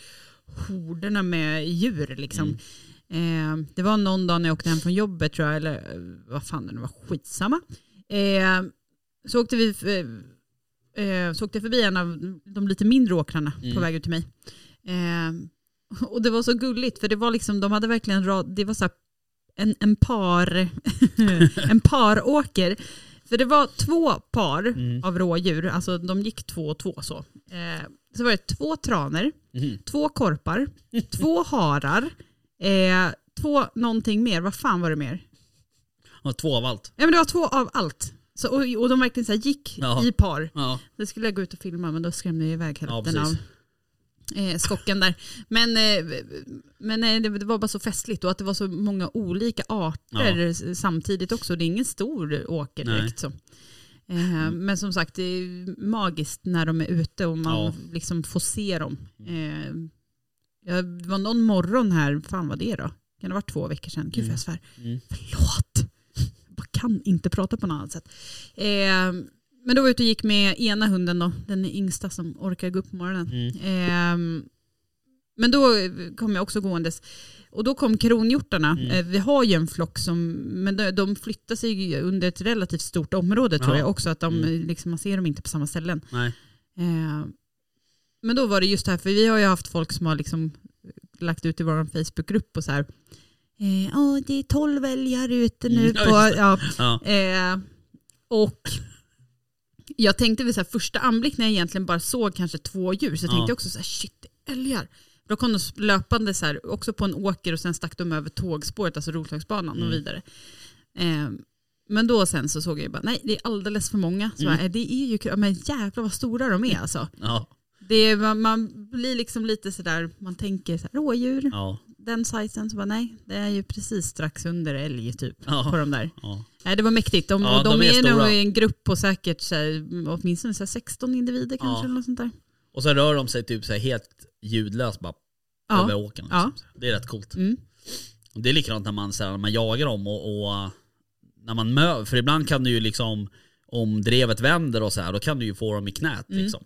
horderna med djur liksom.
Mm.
Eh, det var någon dag när jag åkte hem från jobbet tror jag, eller eh, vad fan det nu var, skitsamma. Eh, så åkte vi eh, eh, så åkte jag förbi en av de lite mindre åkrarna på
Mm.
väg ut till mig. Eh, och det var så gulligt för det var liksom, de hade verkligen rad, det var så här en, en par *laughs* en paråker. För det var två par
Mm.
av rådjur, alltså de gick två och två så. Eh, så var det två traner,
Mhm. *laughs*
två korpar, två harar, eh, två någonting mer, vad fan var det mer?
och två av allt.
Ja men det var två av allt. Så, och, och de verkligen så här gick
Ja.
i par.
Ja,
Det skulle jag gå ut och filma men då skrämde jag iväg
ja
hälften av
precis.
eh, skocken där. Men, eh, men eh, det, det var bara så festligt och att det var så många olika arter s- samtidigt också. Det är ingen stor åker
Nej.
direkt så. Eh, Men som sagt, det är magiskt när de är ute och man
Ja.
liksom får se dem. Eh, jag- Det var någon morgon här, fan vad det då? Kan det ha varit två veckor sedan? Gud vad jag svär.
Mm.
Förlåt! Jag kan inte prata på något annat sätt. Eh, men då var jag ute och gick med ena hunden då, den yngsta som orkar gå upp på morgonen.
Mm.
Ehm, men då kom jag också gåendes. Och då kom kronhjortarna.
Mm.
Eh, Vi har ju en flock som, men de, de flyttar sig ju under ett relativt stort område tror
Ja. Mm.
jag också. Att de, liksom, man ser dem inte på samma ställen.
Nej.
Eh, men då var det just det här, för vi har ju haft folk som har liksom lagt ut i vår Facebookgrupp och så här. eh, Ja, det är tolv älgar ute nu
Mm, ja,
på,
just det.
ja,
Ja.
Eh, och jag tänkte vid så här, första anblick när jag egentligen bara såg kanske två djur så
Ja.
tänkte jag också så här, shit älgar. Då kom de löpande så här, också på en åker och sen stack de över tågspåret, alltså Roslagsbanan
Mm.
och vidare. Eh, men då sen så såg jag ju bara, nej det är alldeles för många. Så
Mm.
bara, "Eh, det är ju, kr- men jävlar vad stora de är alltså.
Ja,
Det är, man, man blir liksom lite sådär, man tänker så här, rådjur,
ja,
den sizen, så bara nej, det är ju precis strax under älg typ
Ja.
på de där.
ja.
Nej, det var mäktigt. De,
Ja,
och de,
de är
är,
stora.
nog i en grupp på säkert så här, åtminstone så här 16 individer kanske.
Ja.
Eller något sånt där.
Och sen rör de sig typ så här helt ljudlöst bara över
Ja.
åkern.
Ja.
Liksom. Det är rätt coolt.
Mm.
Och Det är likadant när man, så här, när man jagar dem och, och äh, när man mö, för ibland kan du ju liksom om drevet vänder och så här, då kan du ju få dem i knät
Mm.
liksom.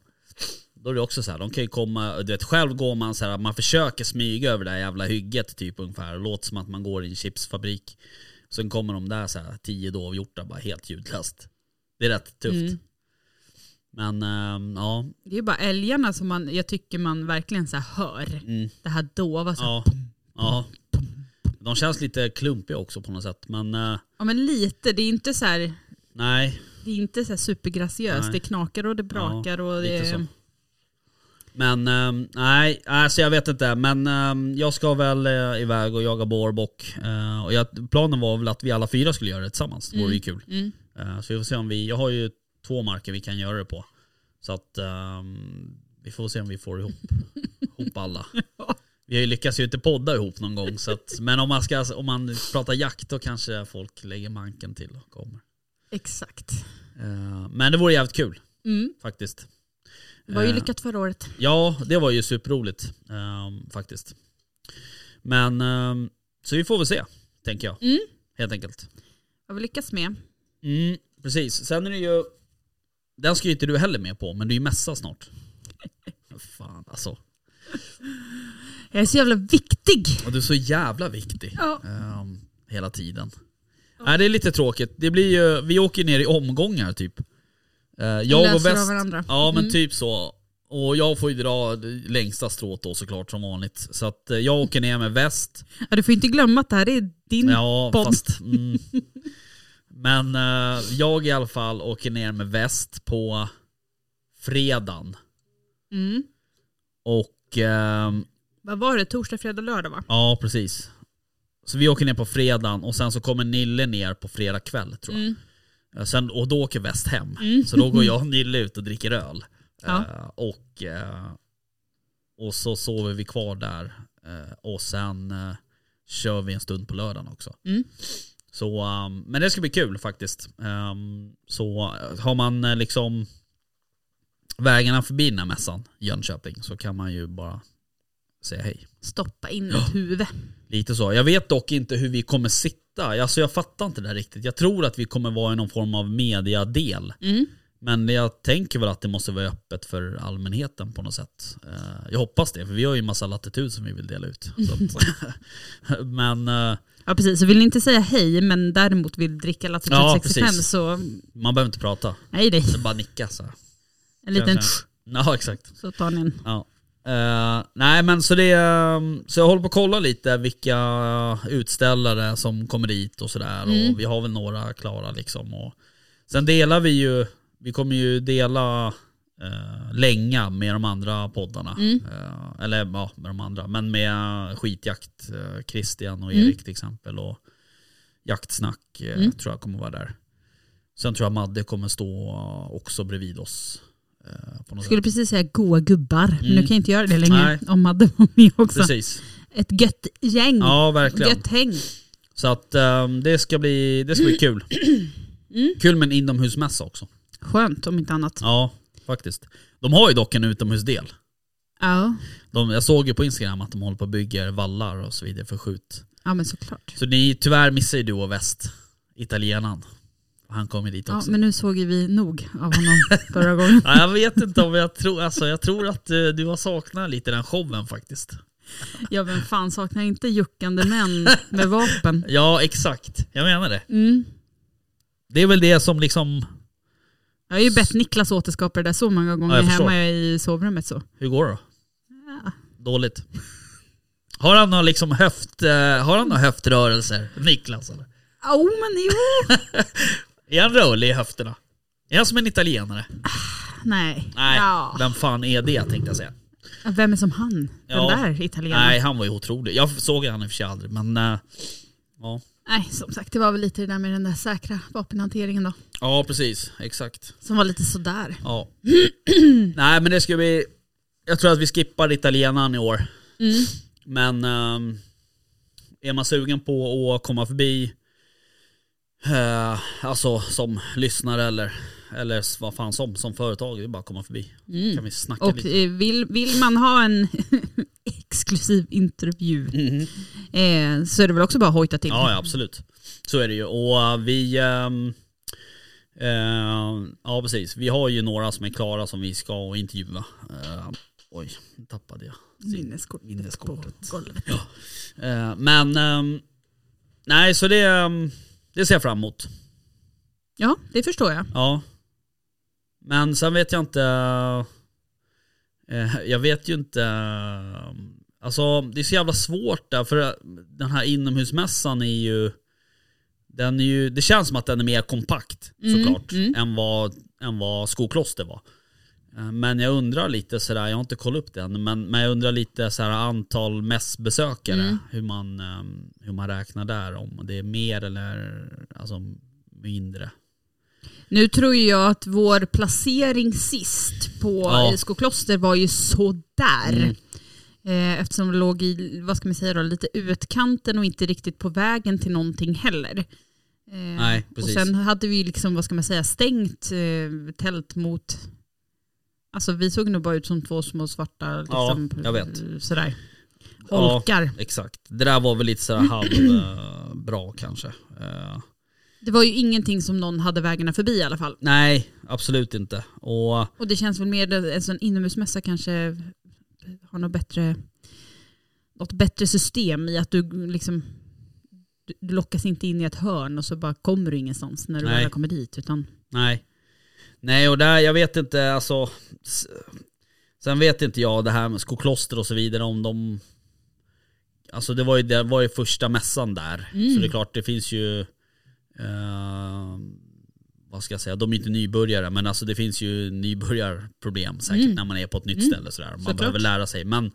Då är det också så här, de kan ju komma, du vet själv går man så här, man försöker smyga över det här jävla hygget typ ungefär, det låter som att man går i en chipsfabrik. Sen kommer de där så här, tio dovhjortar bara helt ljudlöst. Det är rätt tufft.
Mm.
Men ähm, ja,
Det är ju bara älgarna som man, jag tycker man verkligen så här hör.
mm.
Det här dova. Så här,
Ja. ja. De känns lite klumpiga också på något sätt. Men eh,
ja. men lite, det är inte så här,
nej,
det är inte så här supergraciöst.
Nej.
Det knakar och det brakar och det
lite så.
är...
Men eh, nej, alltså jag vet inte. Men eh, jag ska väl eh, iväg och jaga borrbock. Eh, och jag, planen var väl att vi alla fyra skulle göra det tillsammans. Det vore ju kul.
Mm.
Eh, så vi får se om vi, jag har ju två marker vi kan göra det på. Så att eh, vi får se om vi får ihop, ihop alla. Vi har ju lyckats ju inte podda ihop någon gång. Så att, men om man, ska, om man pratar jakt då kanske folk lägger manken till och kommer.
Exakt.
Eh, Men det vore jävligt kul
Mm.
faktiskt.
Det var ju
Eh,
lyckat förra året.
Ja, det var ju superroligt ehm, faktiskt. Men, ehm, så vi får väl se, tänker jag.
Mm.
Helt enkelt.
Vad vi lyckats med.
Mm, precis. Sen är det ju... Den ska ju inte du heller med på, men det är ju mässa snart. Fan alltså.
Jag är så jävla viktig.
Och du är så jävla viktig.
Ja.
Ehm, hela tiden. Nej, det är lite tråkigt. Det blir ju, vi åker ju ner i omgångar typ. Eh, jag och
läser av
väst,
varandra. Mm.
Ja men typ så. Och jag får ju dra det längsta strået då såklart som vanligt. Så att eh, jag åker ner med väst.
Ja, du får inte glömma att det här är din
Ja,
podd.
fast... Mm. Men eh, jag i alla fall åker ner med väst på fredagen.
Mm.
Och ehm,
Vad var det? Torsdag, fredag, lördag va?
ja, precis. Så vi åker ner på fredagen och sen så kommer Nille ner på fredag kväll tror jag.
Mm.
Eh, Sen, och då åker väst hem. Så då går jag och Nille ut och dricker öl.
Ja.
Eh, och, eh, och så sover vi kvar där. Eh, och sen eh, kör vi en stund på lördagen också.
Mm.
Så, ehm, men det ska bli kul faktiskt. Ehm, så eh, har man eh, liksom vägarna förbi den här mässan, Jönköping, så kan man ju bara säga hej.
Stoppa in ett huvud.
Lite så. Jag vet dock inte hur vi kommer sitta. Alltså jag fattar inte det här riktigt. Jag tror att vi kommer vara i någon form av mediadel.
Mm.
Men jag tänker väl att det måste vara öppet för allmänheten på något sätt. Eh, Jag hoppas det, för vi har ju en massa latitud som vi vill dela ut. Så
*laughs*
att, *laughs* men eh,
Ja precis, så vill ni inte säga hej men däremot vill dricka Lasse
Ja,
65
precis.
så
man behöver inte prata,
nej nej.
bara nicka så här.
En liten
Kanske. Ja, exakt.
så tar ni en.
Ja. Eh, nej men så det, ehm, så jag håller på att kolla lite vilka utställare som kommer dit och sådär. Och vi har väl några klara liksom. Och, sen delar vi ju, vi kommer ju dela eh, länga med de andra poddarna. Eh, eller ja, med de andra. Men med skitjakt, eh, Christian och Erik till exempel. Och jaktsnack eh, tror jag kommer vara där. Sen tror jag Madde kommer stå också bredvid oss. eh, på något
Skulle precis säga goa gubbar, men nu kan jag inte göra det längre
Mm. Nej.
om Madde var med också.
Precis.
Ett gött gäng.
Ja, verkligen.
Mm. Gött häng.
Så att ehm, det ska bli, det ska bli kul.
*clears throat* Mm.
Kul med en inomhusmässa också.
Skönt om inte annat. Ja.
Ja, faktiskt. De har ju dock en utomhusdel.
Ja,
De, jag såg ju på Instagram att de håller på och bygger vallar och så vidare för skjut.
men såklart.
Så ni, tyvärr missar ju du och väst, italienaren. Han kom ju dit
Ja,
också.
men nu såg ju vi nog av
*laughs*
honom förra gången.
Ja, jag vet inte om jag tror, alltså jag tror att eh, du har saknat lite den showen faktiskt.
Ja vem fan saknar inte juckande män med vapen?
Ja, exakt. Jag menar det.
Mm.
Det är väl det som liksom,
Jag har ju bett Niklas återskapa det där så många gånger
Ja, jag förstår.
hemma i sovrummet så.
hur går det då? Dåligt. Har han några liksom höft, eh, har han några höftrörelser, Niklas? Eller?
Jo men jo.
Är han rörlig i höfterna? Är han som en italienare?
Nej.
Nej,
Ja.
vem fan är det tänkte jag säga.
Vem är som han? Den
Ja.
där italienaren?
Nej, han var ju otrolig. Jag såg han i och för sig aldrig, men eh, ja.
Nej, som sagt det var väl lite det där med den där säkra vapenhanteringen då.
Ja, precis. Exakt.
Som var lite sådär.
Ja. *clears throat* Nej, men det ska vi... Jag tror att vi skippar italienaren i år. Men ehm, är man sugen på att komma förbi, eh, alltså som lyssnare eller, eller s- vad fan som, som företag, det är bara att komma förbi. Kan vi snacka
Och
lite.
eh, vill, vill man ha en *laughs* exklusiv intervju eh, så är det väl också bara att hojta till.
Mm-hmm. Ja, ja, absolut. Så är det ju. Och eh, vi... ehm, eh, ja, precis. Vi har ju några som är klara som vi ska intervjua. Eh, oj, nu tappade jag.
Minneskortet,
Minneskortet.
på golvet.
Eh, men ehm, nej, så det, ehm, det ser jag fram emot.
Ja, det förstår jag.
Ja. Men sen vet jag inte. eh, jag vet ju inte. eh, Alltså det är så jävla svårt där för eh, den här inomhusmässan är ju. Den är ju, det känns som att den är mer kompakt såklart Än, vad, än vad Skokloster var. Eh, Men jag undrar lite sådär, jag har inte kollat upp den, men, men jag undrar lite sådär antal mässbesökare, hur, man, eh, hur man räknar där, om det är mer eller alltså, mindre.
Nu tror ju jag att vår placering sist på
Ja. Mm.
ISK Kloster var ju sådär. Eh, Eftersom det låg i, vad ska man säga då, lite utkanten och inte riktigt på vägen till någonting heller. Eh,
Nej,
och
precis.
sen hade vi liksom, vad ska man säga, stängt eh, tält mot... Alltså vi såg nog bara ut som två små svarta
Ja,
liksom,
jag vet.
sådär.
Ja.
Holkar.
Exakt. Det där var väl lite sådär halvbra kanske. Eh,
Det var ju ingenting som någon hade vägarna förbi i alla fall.
nej, absolut inte. Och
Och det känns väl mer, alltså en inomhusmässa kanske har något bättre, något bättre system i att du liksom du- du lockas inte in i ett hörn och så bara kommer du ingenstans när du
Nej.
väl kommer dit. Utan,
Nej. Nej, och där, jag vet inte, alltså. s- Sen vet inte jag det här med skokloster och så vidare om de... Alltså det var ju, det var ju första mässan där. Så det är klart, det finns ju... eh, vad ska jag säga, de är inte nybörjare men alltså det finns ju nybörjarproblem säkert när man är på ett nytt ställe och sådär. Man
Såklart.
behöver lära sig. Men,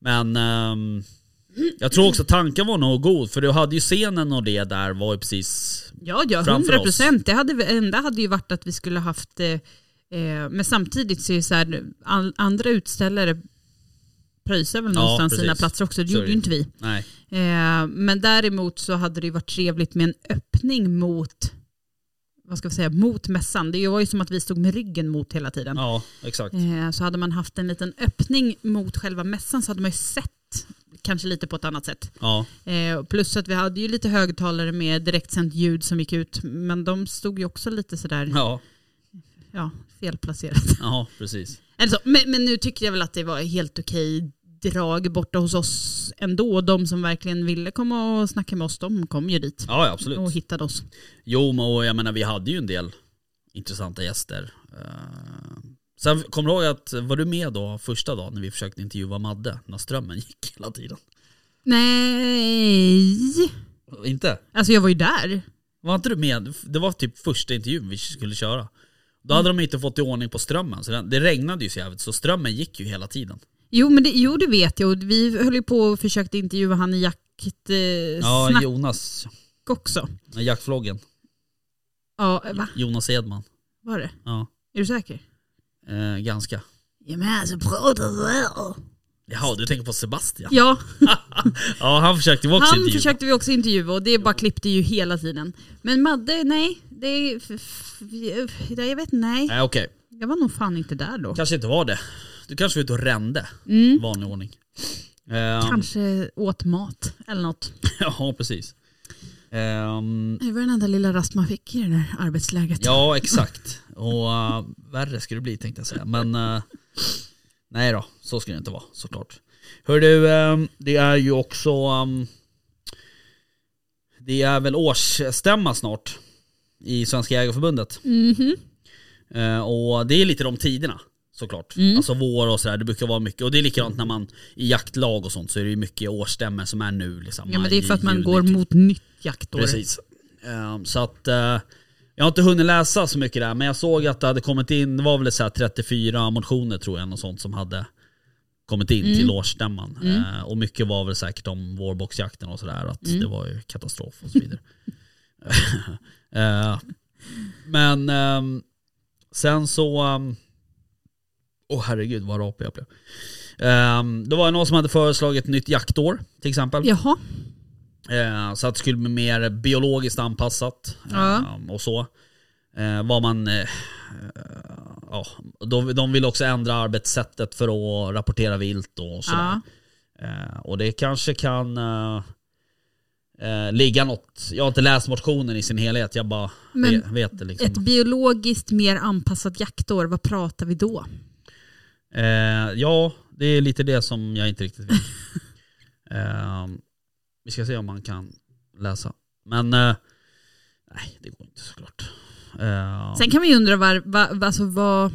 men ehm, jag tror också tanken var nog god för du hade ju scenen och det där var ju precis
ja, ja,
Framför
100 procent. Det hade, vi- enda hade ju varit att vi skulle haft, eh, eh, men samtidigt så är det så här, an- andra utställare pröjsar väl
Ja,
någonstans sina
precis.
platser också. Det
Så är
gjorde
det
ju inte vi.
Nej.
Eh, men däremot så hade det ju varit trevligt med en öppning mot, vad ska vi säga, mot mässan. Det var ju som att vi stod med ryggen mot hela tiden.
Ja, exakt.
Eh, så hade man haft en liten öppning mot själva mässan så hade man ju sett, kanske lite på ett annat sätt.
Ja,
Eh, plus att vi hade ju lite högtalare med direktsänt ljud som gick ut, men de stod ju också lite sådär, ja,
ja,
felplacerat. *laughs*
ja precis.
Eller så, men, men nu tycker jag väl att det var helt okej drag borta hos oss ändå. De som verkligen ville komma och snacka med oss, de kom ju dit
Ja, ja
och
absolut.
hittade oss.
Jo, men och jag menar vi hade ju en del intressanta gäster. Eh, Sen kommer du ihåg att, var du med då första dagen när vi försökte intervjua Madde? När strömmen gick hela tiden.
Nej,
Inte?
alltså jag var ju där.
Var inte du med? Det var typ första intervjun vi skulle köra. Då hade de inte fått i ordning på strömmen, så den, det regnade ju så jävligt så strömmen gick ju hela tiden.
Jo, men det, jo, det vet jag. Och Vi höll ju på och försökte intervjua han i jakt eh,
Ja,
snack
Jonas,
också.
nej, jaktfloggen.
Ja, va?
Jonas Edman.
Var det?
Ja,
Är du säker?
eh, ganska.
Ja, men alltså pratar så
Jaha, du tänker på Sebastian?
Ja,
Ja, han försökte ju också
han
intervjua.
försökte vi också intervjua och det bara klippte ju hela tiden. Men Madde, nej. Det, är- f- f- f- jag vet nej.
Nej okej,
Jag var nog fan inte där då.
kanske inte var det. Du kanske var ute och rände i
Mm.
vanlig ordning. Ehm,
Kanske åt mat eller något.
*laughs* ja, precis. Ehm,
Det var den enda lilla rast man fick i det där arbetsläget.
ja, exakt. Och eh, värre skulle det bli tänkte jag säga. Men eh, nej då, så skulle det inte vara såklart. Hör du, ehm, det är ju också... ehm, det är väl årsstämma snart i Svenska Jägareförbundet.
Mhm.
Eh, och det är lite de tiderna såklart.
Mm.
Alltså vår och sådär, det brukar vara mycket. Och det är likadant när man i jaktlag och sånt så är det ju mycket årsstämmor som är nu. Liksom,
Ja, men det är för att
i
man
juni,
går
typ.
mot nytt jaktår.
Precis. Eh, så att eh, jag har inte hunnit läsa så mycket där men jag såg att det hade kommit in, det var väl så här 34 motioner tror jag och sånt som hade kommit in till årsstämman. Eh, och mycket var väl säkert om vårboxjakten och sådär att det var ju katastrof och så vidare. *laughs* Eh, men ehm, sen så... ehm, Åh herregud vad rapig jag blev. Um, det var någon som hade föreslagit ett nytt jaktår till exempel.
Jaha.
Eh, Så att det skulle bli mer biologiskt anpassat eh,
Ja.
och så. Eh, Vad man... eh, eh, Ja, de, de vill också ändra arbetssättet för att rapportera vilt och sådär.
Ja.
Eh, Och det kanske kan eh, eh, ligga något... Jag har inte läst motionen i sin helhet, jag bara
Men
ve- vet det liksom.
Ett biologiskt mer anpassat jaktår, vad pratar vi då?
Eh, Ja, det är lite det som jag inte riktigt
*laughs*
vet. Eh, Vi ska se om man kan läsa. Men... eh, Nej, det går inte såklart. Eh,
Sen kan man ju undra var, va- va- alltså vad,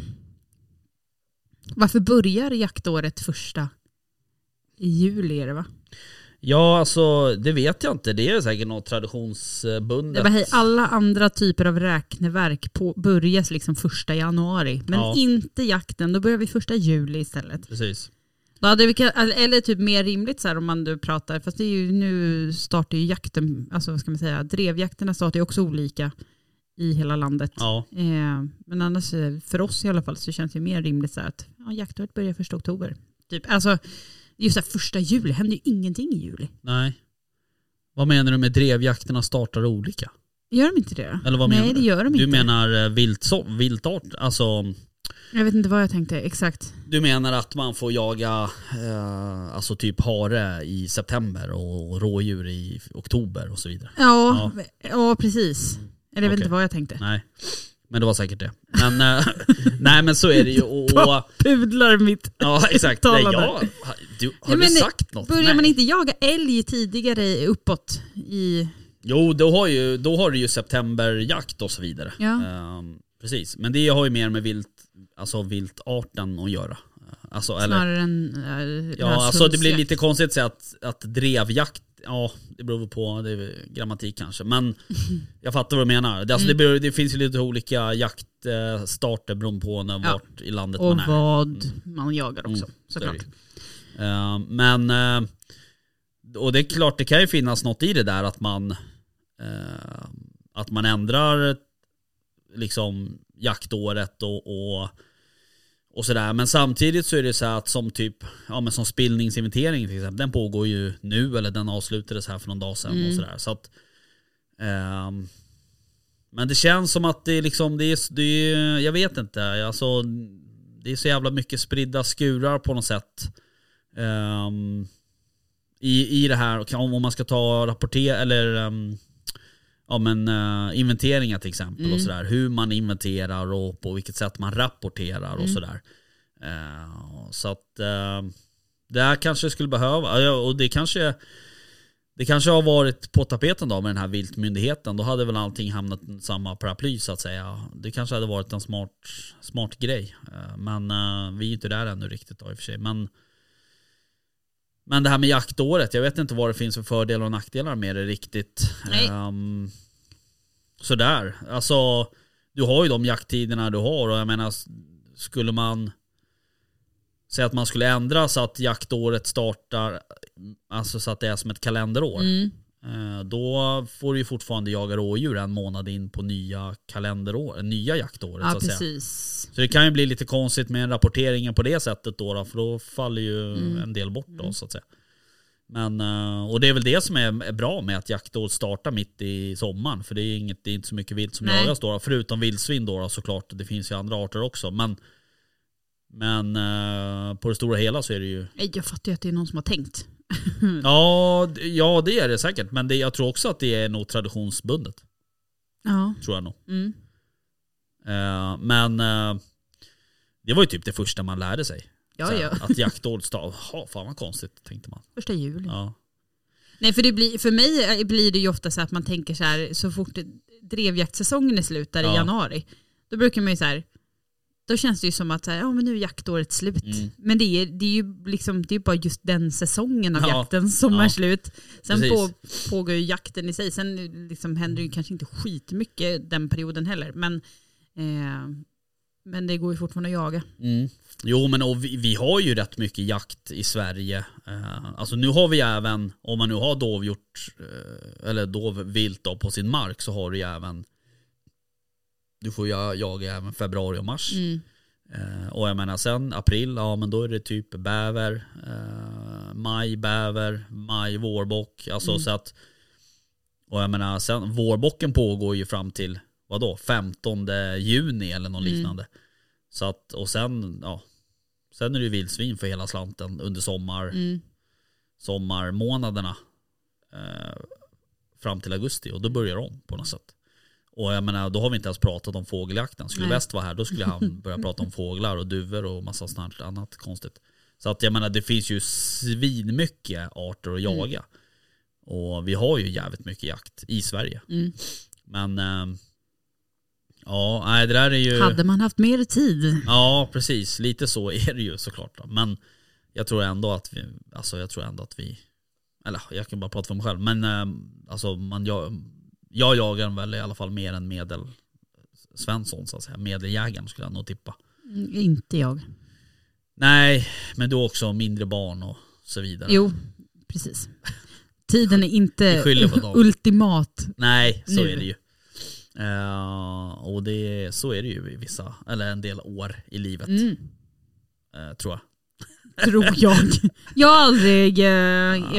varför börjar jaktåret första i juli är det va?
Ja, alltså det vet jag inte. Det är säkert något traditionsbundet.
Det var, hej, alla andra typer av räkneverk på, börjas liksom första januari, men
Ja.
inte jakten. Då börjar vi första juli istället.
Precis.
Då hade vi, kan- eller typ mer rimligt så här om man nu pratar, fast det är ju, nu startar ju jakten, alltså vad ska man säga, drevjakterna startar ju också olika i hela landet.
Ja,
Eh, men annars, eh, för oss i alla fall, så känns det ju mer rimligt så här att ja, jaktåret börjar första oktober. Typ. Alltså, just det här första juli, händer ju ingenting i juli.
nej. Vad menar du med drevjakterna startar olika?
Gör de inte det då?
Eller vad
Nej,
menar du?
det gör de
Du
inte.
menar eh, vilt, så- viltart? Alltså,
Jag vet inte vad jag tänkte exakt.
du menar att man får jaga eh, alltså typ hare i september och rådjur i oktober och så vidare?
Ja, ja. precis. Eller jag vet
Okej.
inte vad jag tänkte.
Nej, men det var säkert det. Men, eh, *laughs* nej men så är det ju. Och, och,
Pudlar mitt.
ja exakt. Nej,
Talade.
jag, ha- du, har
Nej,
du
men
sagt något?
Börjar
Nej.
man inte jaga älg tidigare uppåt i...
Jo, då har, ju, då har du ju septemberjakt och så vidare.
Ja.
Ehm, precis, men det har ju mer med vilt, alltså viltarten att göra. Alltså, eller,
Snarare än äh,
ja, alltså det blir lite konstigt att säga att, att drevjakt, ja det beror på det är grammatik kanske.
*laughs*
Men jag fattar vad du menar. Det, alltså,
Mm.
det, beror, det finns ju lite olika jaktstarter beroende på Mm. när,
Ja.
vart i landet
Och
man är.
vad man jagar också såklart.
Eh, men, eh, och det är klart det kan ju finnas något i det där att man, eh, att man ändrar liksom jaktåret och, och, och sådär. Men samtidigt så är det så här att som typ, ja men som spillningsinventering till exempel, den pågår ju nu eller den avslutades här för någon dag sedan och sådär. Så att, ehm, men det känns som att det är liksom, det är, det är, jag vet inte, alltså det är så jävla mycket spridda skurar på något sätt. Ehm, i, I det här, och kan- om man ska ta rapporter eller ehm, ja, men, eh, inventeringar till exempel och sådär. Hur man inventerar och på vilket sätt man rapporterar och sådär. Eh, så att eh, det här kanske skulle behöva, ja, och det kanske det kanske har varit på tapeten då med den här viltmyndigheten. Då hade väl allting hamnat i samma paraply så att säga. Det kanske hade varit en smart, smart grej. Eh, Men eh, vi är ju inte där ännu riktigt då i och för sig. Men, men det här med jaktåret, jag vet inte vad det finns för fördelar och nackdelar med det riktigt.
Nej.
Um, sådär. Alltså, du har ju de jakttiderna du har och jag menar, s- skulle man säga att man skulle ändra så att jaktåret startar, alltså så att det är som ett kalenderår.
Mm.
Eh, Då får du ju fortfarande jaga rådjur en månad in på nya kalenderår, nya jaktåret så
Ja
att säga.
precis.
Så det kan ju bli lite konstigt med en rapportering på det sättet då, då för då faller ju
Mm.
en del bort då så att säga. Men, eh, och det är väl det som är är bra med att jaktåret startar mitt i sommaren. För det är, inget, det är inte så mycket vilt som
Nej.
jagas då. Förutom vildsvin då, då såklart. Det finns ju andra arter också. Men, men eh, på det stora hela så är det ju...
Nej, Jag fattar ju att det är någon som har tänkt. Mm.
Ja, d- ja det är det säkert. Men det, jag tror också att det är nog traditionsbundet.
Ja.
Tror jag nog.
Mm.
Eh, men eh, det var ju typ det första man lärde sig.
Ja,
Såhär,
ja.
Att jaktåret stav, *laughs* jaha fan vad konstigt tänkte man.
Första juli.
Ja.
Nej, för, det blir, för mig eh, blir det ju ofta så att man tänker så här, så fort drevjaktsäsongen är slut där
Ja.
i januari, då brukar man ju så här, då känns det ju som att så här, ja, men nu är jaktåret slut.
Mm.
Men det är, det är ju liksom, det är bara just den säsongen av
Ja.
jakten som
Ja.
är slut. Sen
Precis.
på, pågår ju jakten i sig. Sen liksom händer det ju kanske inte skitmycket den perioden heller. Men, eh, men det går ju fortfarande att jaga.
Jo men och vi, vi har ju rätt mycket jakt i Sverige. Eh, alltså nu har vi ju även, om man nu har dovhjort, eh, eller dovvilt då på sin mark så har du ju även, du får ju jaga även februari och mars. Eh, och jag menar sen april, ja men då är det typ bäver, eh, maj bäver, maj vårbock. Alltså så att, och jag menar sen vårbocken pågår ju fram till vadå, 15 juni eller något liknande. Så att, och sen, ja, sen är det ju vildsvin för hela slanten under sommar,
Mm.
sommarmånaderna. Eh, fram till augusti och då börjar de på något sätt. Och jag menar, då har vi inte ens pratat om fågeljakten. Skulle
Nej.
väst vara här då skulle
*laughs*
han börja prata om fåglar och duvor och massa sånt här annat konstigt. Så att jag menar, det finns ju svinmycket arter att
Mm.
jaga. Och vi har ju jävligt mycket jakt i Sverige.
Mm.
Men eh, ja, nej det där är ju...
Hade man haft mer tid?
Ja, precis. Lite så är det ju såklart. Då. Men jag tror ändå att vi, alltså jag tror ändå att vi, eller jag kan bara prata för mig själv, men eh, alltså man, jag, jag jagar väl i alla fall mer än medel Svensson så att säga. Medeljägaren skulle jag nog tippa.
Mm, Inte jag.
Nej, men du har också mindre barn och så vidare.
Jo, precis. Tiden är inte
Vi skyller på dem.
ultimat.
Nej, så
Nu.
är det ju. Eh, och det, så är det ju i vissa, eller en del år i livet.
Mm.
eh, tror jag.
Tror *laughs* jag.
Ah.
Jag har aldrig eh,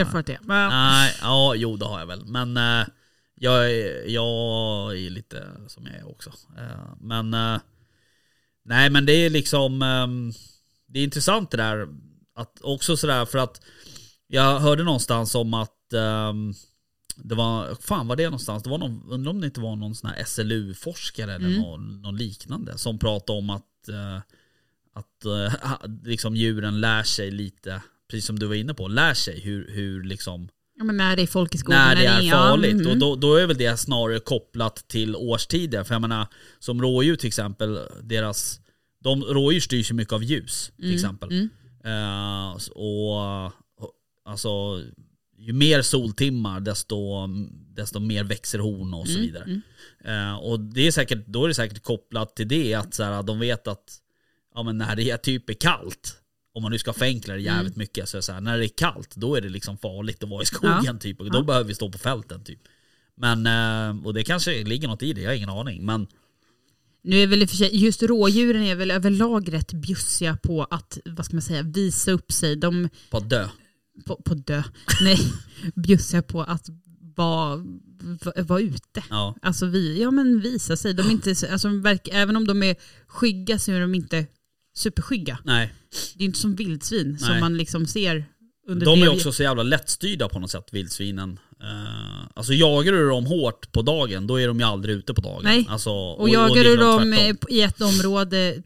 erfarit det. Men,
Nej, ja jo det har jag väl. Men eh, Jag är, jag är lite som jag är också. Eh, Men eh, nej men det är liksom, ehm, det är intressant det där. Att också sådär för att jag hörde någonstans om att ehm, det var, fan var det någonstans? Det var någon, undrar om det inte var någon sån här SLU-forskare eller
Mm.
någon, någon liknande som pratade om att, eh, att eh, *laughs* ha- liksom djuren lär sig lite, precis som du var inne på, lär sig hur, hur liksom
Ja, men när det är folk i skogen.
när det är farligt.
Ja,
Och
mhm.
då, då är väl det snarare kopplat till årstider. För jag menar, som rådjur till exempel, deras, de, rådjur styrs ju mycket av ljus till exempel.
mm.
Eh, s- och och, alltså, ju mer soltimmar desto, desto mer växer horn
Mm.
och så vidare. Eh, och det är säkert, då är det säkert kopplat till det att så här, de vet att ja, men när det är typ är kallt, om man nu ska förenkla det jävligt mycket, så, är det så här, när det är kallt då är det liksom farligt att vara i skogen
Mm. Ja.
typ. Och då behöver vi stå på fälten typ. Men, eh, och det kanske ligger något i det, jag har ingen aning. Men
Nu är väl i och för sig, just rådjuren är väl överlag rätt bjussiga på att, vad ska man säga, visa upp sig. De,
på att dö.
på, på dö, *laughs* nej, bjussiga på att vara va- vara ute.
Ja.
Alltså vi, ja men visa sig. De är inte, så- alltså, de verkar- även om de är skygga så är de inte superskygga.
Nej,
Det är inte som vildsvin som
Nej.
man liksom ser under
de är
brev-
också så jävla lättstyrda på något sätt, vildsvinen. Eh, alltså jagar du dem hårt på dagen, då är de ju aldrig ute på dagen.
Nej.
Alltså,
Och jagar du
liksom
dem
tvärtom.
eh, i ett område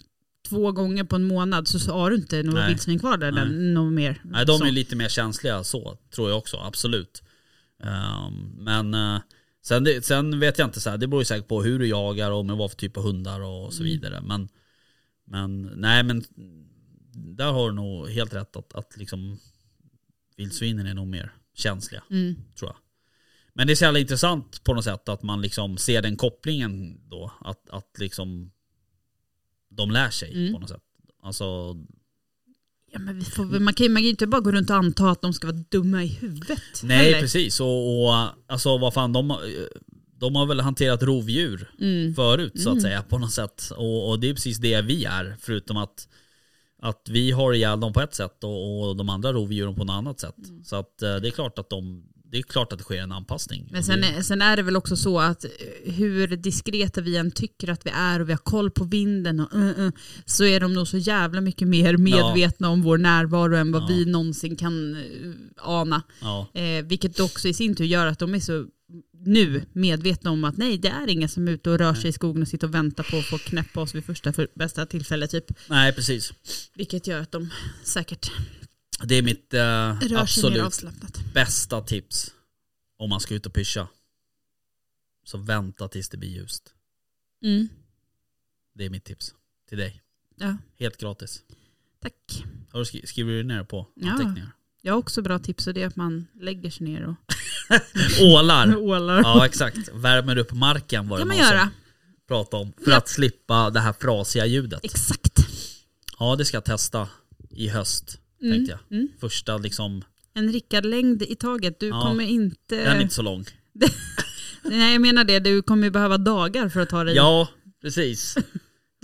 två gånger på en månad så så har du inte några
Nej.
vildsvin kvar där, där något mer.
Nej, de
så.
är ju lite mer känsliga så, tror jag också, absolut. Ehm, men eh, sen, det- sen vet jag inte, så här, det beror ju säkert på hur du jagar och med vad för typ av hundar och
Mm.
så vidare. Men, men nej, men där har du nog helt rätt att, att liksom vildsvinen är nog mer känsliga,
Mm.
tror jag. Men det är så jävla intressant på något sätt att man liksom ser den kopplingen då, att, att liksom de lär sig
Mm.
på något sätt. Alltså,
Ja, men vi får, väl- man, kan, ju- man kan ju inte bara gå runt och anta att de ska vara dumma i huvudet.
Nej
heller.
precis och, och alltså vad fan de, har- de har väl hanterat rovdjur
Mm.
förut så att säga på något sätt och, och det är precis det vi är förutom att att vi har ihjäl dem på ett sätt och, och de andra rovdjuren på något annat sätt.
Mm.
Så att eh, det är klart att de det är klart att det sker en anpassning.
Men
Och
sen
det,
är, sen är det väl också så att eh, hur diskreta vi än tycker att vi är och vi har koll på vinden och eh, eh, så är de nog så jävla mycket mer medvetna om vår närvaro än vad
Ja.
vi någonsin kan eh, ana.
ja,
Eh, vilket också i sin tur gör att de är så nu medvetna om att nej det är ingen som är ute och rör sig i skogen och sitter och väntar på att få knäppa oss vid första för, bästa tillfälle typ.
nej precis.
Vilket gör att de säkert
Det är mitt eh,
rör sig mer
absolut
avslappnat.
bästa tips om man ska ut och pyscha. Så vänta tills det blir ljust.
Mm.
Det är mitt tips till dig.
Ja,
Helt gratis.
tack.
Har du skri- skriver du ner på
Ja.
anteckningar?
Jag har också bra tips och det är att man lägger sig ner och
Ålar.
*laughs* ålar.
Ja exakt, värmer upp marken var det
kan man
någon
göra.
som pratade om. För
Ja.
att slippa det här frasiga ljudet.
Exakt.
Ja det ska jag testa i höst tänkte jag.
mm.
Första liksom,
En Rickard-längd i taget. Du
Ja.
kommer inte...
den är inte så lång.
Nej jag menar det, du kommer ju behöva dagar för att ta dig
Ja
*laughs*
precis.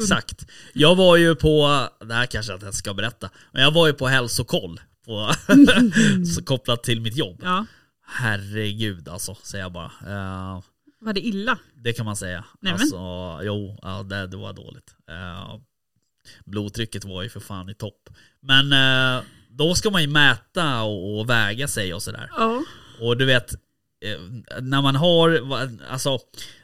Exakt. Jag var ju på, det här kanske jag inte ens ska berätta, men jag var ju på hälsokoll. På, *laughs*
Mm.
så kopplat till mitt jobb.
Ja.
Herregud alltså, säger jag bara. Eh,
Var det illa?
Det kan man säga.
Nämen.
Alltså, jo, ja, det, det var dåligt. Eh, blodtrycket var ju för fan i topp. Men eh, då ska man ju mäta och, och väga sig och sådär.
Ja.
Och du vet, eh, när man har, va- alltså,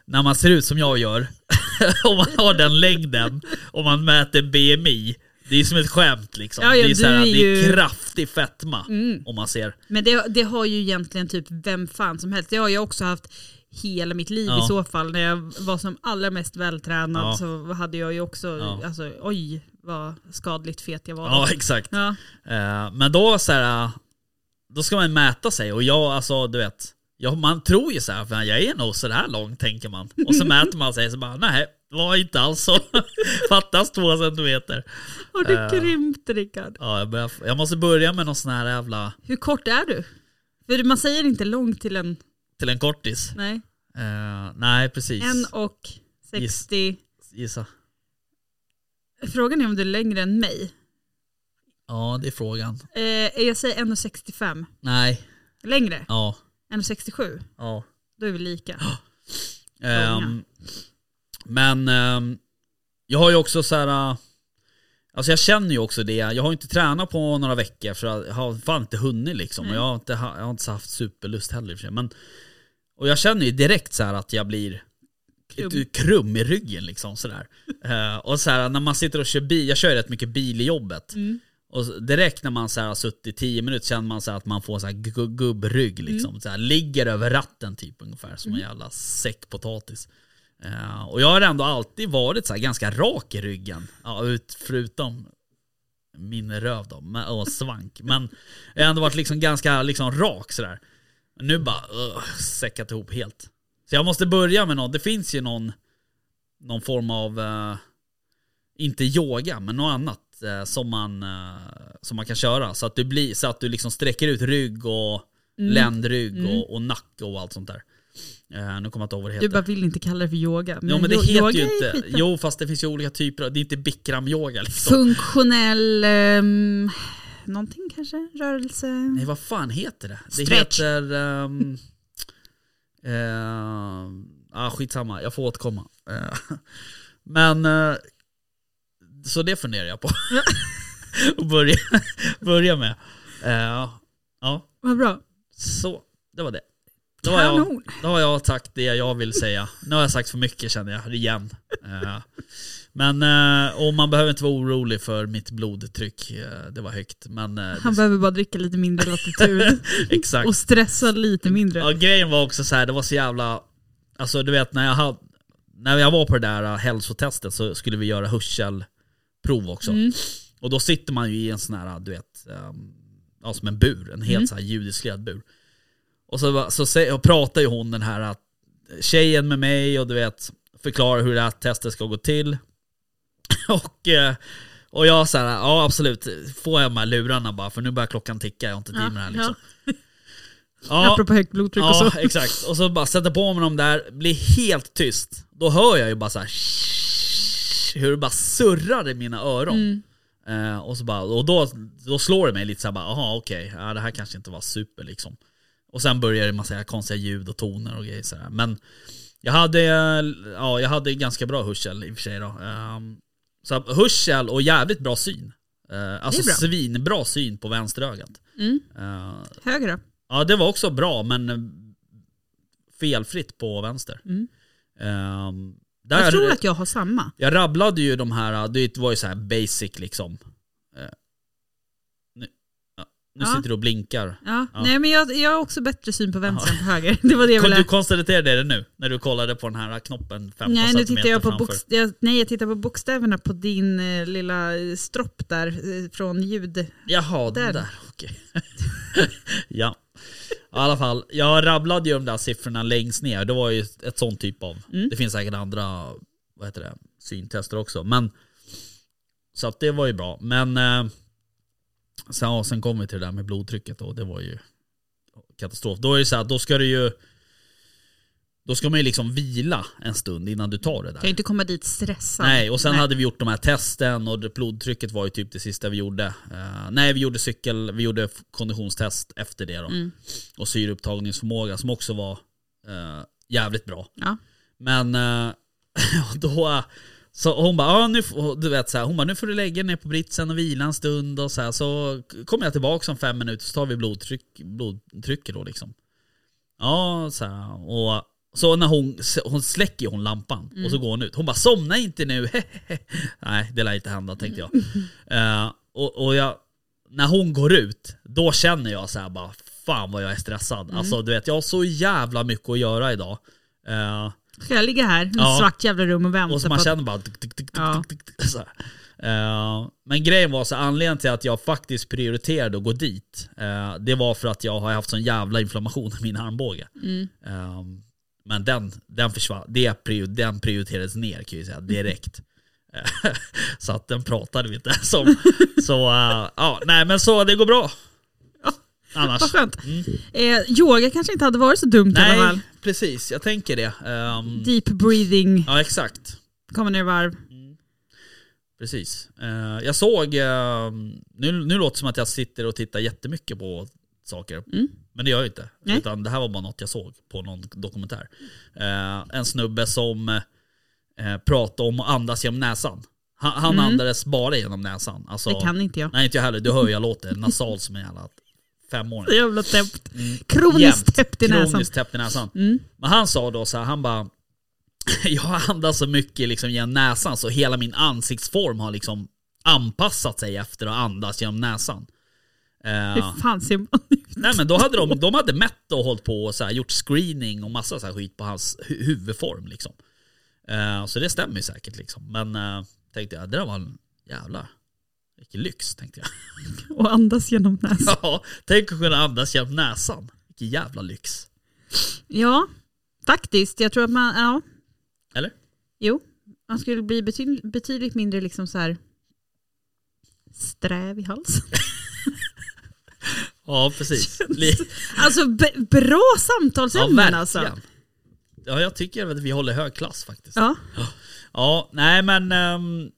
när man ser ut som jag gör, *laughs* och man har den längden, och man mäter BMI, det är som ett skämt liksom.
Ja, ja,
det, är
du
så här,
är
det är
ju- Mm.
kraftig fetma om man ser.
Men det, det har ju egentligen typ vem fan som helst. Det har jag också haft hela mitt liv
Ja.
i så fall. När jag var som allra mest vältränad
Ja.
så hade jag ju också,
Ja.
alltså oj vad skadligt fet jag var. då.
Ja, exakt.
Ja.
Eh, men då så här, då ska man mäta sig och jag alltså du vet, jag, man tror ju så här, fan, jag är nog så här lång tänker man. Och så mäter man sig så bara nej, var inte alls så. *laughs* Fattas två centimeter.
Har du
Eh.
krympt Rickard?
Ja, jag, börjar, jag måste börja med någon sån här jävla,
Hur kort är du? För man säger inte lång till en,
till en kortis.
nej,
Eh, nej precis,
en och 60.
gissa.
Frågan är om du är längre än mig.
Ja det är frågan.
Eh, jag säger 1,65.
Nej,
Längre?
ja,
1,67?
ja.
Då är
*gasps*
vi lika.
Ehm,
Många.
men ehm, jag har ju också så här. äh, Alltså jag känner ju också det. Jag har inte tränat på några veckor för jag har fan inte hunnit liksom. Och jag har inte, ha- jag har inte så haft superlust heller i och för sig. Men, och jag känner ju direkt så här att jag blir
Krum.
krum, krum i ryggen liksom sådär. Eh, och så här när man sitter och kör bil, jag kör ju rätt mycket bil i jobbet. Och så- direkt när man så här har suttit i 10 minuter känner man så här att man får så här gu- gubbrygg liksom. Så här, ligger över ratten typ ungefär som en jävla säck potatis. Eh, och jag har ändå alltid varit så här ganska rak i ryggen. Ja, ut, förutom min röv då, men- och svank. Men jag har ändå varit liksom ganska liksom rak sådär. Men Nu bara uh, säckat ihop helt. Så jag måste börja med något. Det finns ju någon, någon form av, eh, inte yoga, men något annat eh, som, man, eh, som man kan köra. Så att du, blir, så att du liksom sträcker ut rygg och
Mm.
ländrygg och, och nacke och allt sånt där. Eh, nu kommer jag inte ihåg vad det heter.
Du bara vill inte kalla det för yoga.
Jo men det
yo-
heter
yoga
ju
är
inte,
skitbra.
jo fast det finns ju olika typer av, det är inte bikram-yoga liksom.
Funktionell ehm, någonting kanske? Rörelse?
Nej vad fan heter det? Det
Stretch.
heter... ehm, *laughs* ehm, ah skitsamma, jag får återkomma. Eh, *laughs* men... eh, så det funderar jag på. *laughs* Och börja, *laughs* börja med. Eh, ja,
Vad bra.
så. Det var det. Då har, jag,
Kanon.
då har jag sagt det jag vill säga. Nu har jag sagt för mycket känner jag, igen. Eh, men eh, och man behöver inte vara orolig för mitt blodtryck. Eh, det var högt. Men, eh,
Han behöver bara dricka lite
*laughs*
mindre latitud
exakt.
och stressa lite mindre.
Ja, grejen var också så här, det var så jävla... Alltså du vet när jag, hade, när jag var på det där äh, hälsotestet så skulle vi göra hörselprov också. Och då sitter man ju i en sån här, du vet, ehm, ja, som en bur, en helt så här judisk ledbur. Och så, va- så sä- och pratar ju hon den här äh, tjejen med mig och du vet, förklarar hur det här testet ska gå till. *laughs* och, eh, och jag så här, äh, ja absolut, får jag de här lurarna bara för nu börjar klockan ticka, jag har inte tid med det här liksom. Ja.
Apropå högt blodtryck och så.
Ja, exakt. Och så bara sätter på mig dem där, blir helt tyst. Då hör jag ju bara så här hur det bara surrar i mina öron.
Mm.
Eh, och så bara, och då, då slår det mig lite såhär bara, aha okej, ja, det här kanske inte var super liksom. Och sen börjar det massa konstiga ljud och toner och grejer sådär. Men jag hade, eh, ja jag hade ganska bra hörsel i och för sig då. Ehm, så hörsel och jävligt bra syn. Eh, alltså
bra.
svinbra syn på vänsterögat.
Mm.
Eh,
Höger då?
Ja, det var också bra, men eh, felfritt på vänster.
Mm.
Ehm, där
Jag tror att jag har samma.
jag rabblade ju de här, eh, det var ju så här basic liksom. Eh, nu ja, nu
Ja.
sitter du och blinkar.
Ja.
Ja.
Nej men jag, jag har också bättre syn på vänster än på höger. *laughs* Det var det jag
Kon- Du
ville.
konstaterade det nu, när du kollade på den här knoppen 15
Nej, nu tittar
centimeter
jag på
framför.
bokst- jag, nej, jag tittar på bokstäverna på din eh, lilla eh, stropp där eh, från ljud.
Jaha, den
Där.
där, okej. *laughs* ja. I alla fall, jag rabblade ju de där siffrorna längst ner. Det var ju ett sånt typ av, det finns säkert andra, vad heter det, syntester också. Men, så att det var ju bra. Men eh, sen, ja, sen kom vi till det där med blodtrycket och det var ju katastrof. Då är det så här, då ska du ju, då ska man ju liksom vila en stund innan du tar det där.
Kan ju inte komma dit stressad.
Nej, och sen
Nej.
hade vi gjort de här testen och det- blodtrycket var ju typ det sista vi gjorde. Eh, nej, vi gjorde cykel, vi gjorde f- konditionstest efter det då. Och syreupptagningsförmåga som också var eh, jävligt bra.
Ja.
Men eh, *laughs* och då, så hon bara, ah, nu, f- och du vet så här, hon bara, nu får du lägga ner på britsen och vila en stund och så här, så kommer jag tillbaka om fem minuter så tar vi blodtryck, blodtrycket då liksom. Ja, så här, och så när hon, hon släcker ju hon lampan och så går hon ut. Hon bara, somna inte nu, *laughs* Nej, det lär inte hända tänkte jag. Eh, och, och jag, när hon går ut, då känner jag så här bara, fan vad jag är stressad. Alltså du vet, jag har så jävla mycket att göra idag. Eh,
Ska jag ligga här i ett
Ja.
svart jävla rum och vänta
och så
på
man
att...
känner bara... Tick, tick, tick, tick,
Ja.
tick, tick, så här. Eh, men grejen var så anledningen till att jag faktiskt prioriterade att gå dit, eh, det var för att jag har haft sån jävla inflammation i min armbåge.
Mm.
Eh, men den, den försvann, det, prio- den prioriterades ner kan jag ju säga direkt. Eh, *laughs* så att den pratade vi inte ens
*laughs*
om. Så eh, ja, nej men så det går bra. Annars.
Vad skönt. Eh, yoga kanske inte hade varit så dumt i alla
Alltså, mm. Nej, Mm.
fall.
precis. Jag tänker det. Ehm,
Deep breathing,
ja, exakt.
komma ner i varv.
ehm, Precis. Eh, jag såg, eh, nu, nu låter det som att jag sitter och tittar jättemycket på saker.
Mm.
Men det gör jag inte.
Nej.
Utan det här var bara något jag såg på någon dokumentär. Eh, en snubbe som eh, pratade om att andas genom näsan. Han, han andades bara genom näsan. Alltså,
Mm. Det kan inte jag.
Nej inte jag heller, du hör ju jag låter nasal som en jävla femåring.
Jävla täppt. Kroniskt täppt i näsan.
Mm.
Mm.
Kroniskt täppt i näsan. Men han sa då så här, han bara *laughs* jag andas så mycket liksom genom näsan så hela min ansiktsform har liksom anpassat sig efter att andas genom näsan. Eh,
Hur fan ser man *laughs* ut?
Nej men då hade de, de hade mätt och hållit på och så här, gjort screening och massa så här skit på hans hu- huvudform liksom. Eh, så det stämmer ju säkert liksom. Men eh, tänkte jag, det där var en jävla vilken lyx tänkte jag. *laughs*
Och andas genom näsan.
ja, tänk att kunna andas genom näsan. Vilken jävla lyx.
Ja, faktiskt. Jag tror att man, ja.
Eller?
Jo, man skulle bli betydligt, betydligt mindre liksom så här sträv
*laughs*
i halsen.
Ja
*laughs*
precis. Li-
Alltså b- bra
ja,
samtalsämnen
verkligen.
alltså.
Ja jag tycker att vi håller hög klass faktiskt. Ja,
Ja,
nej men ehm,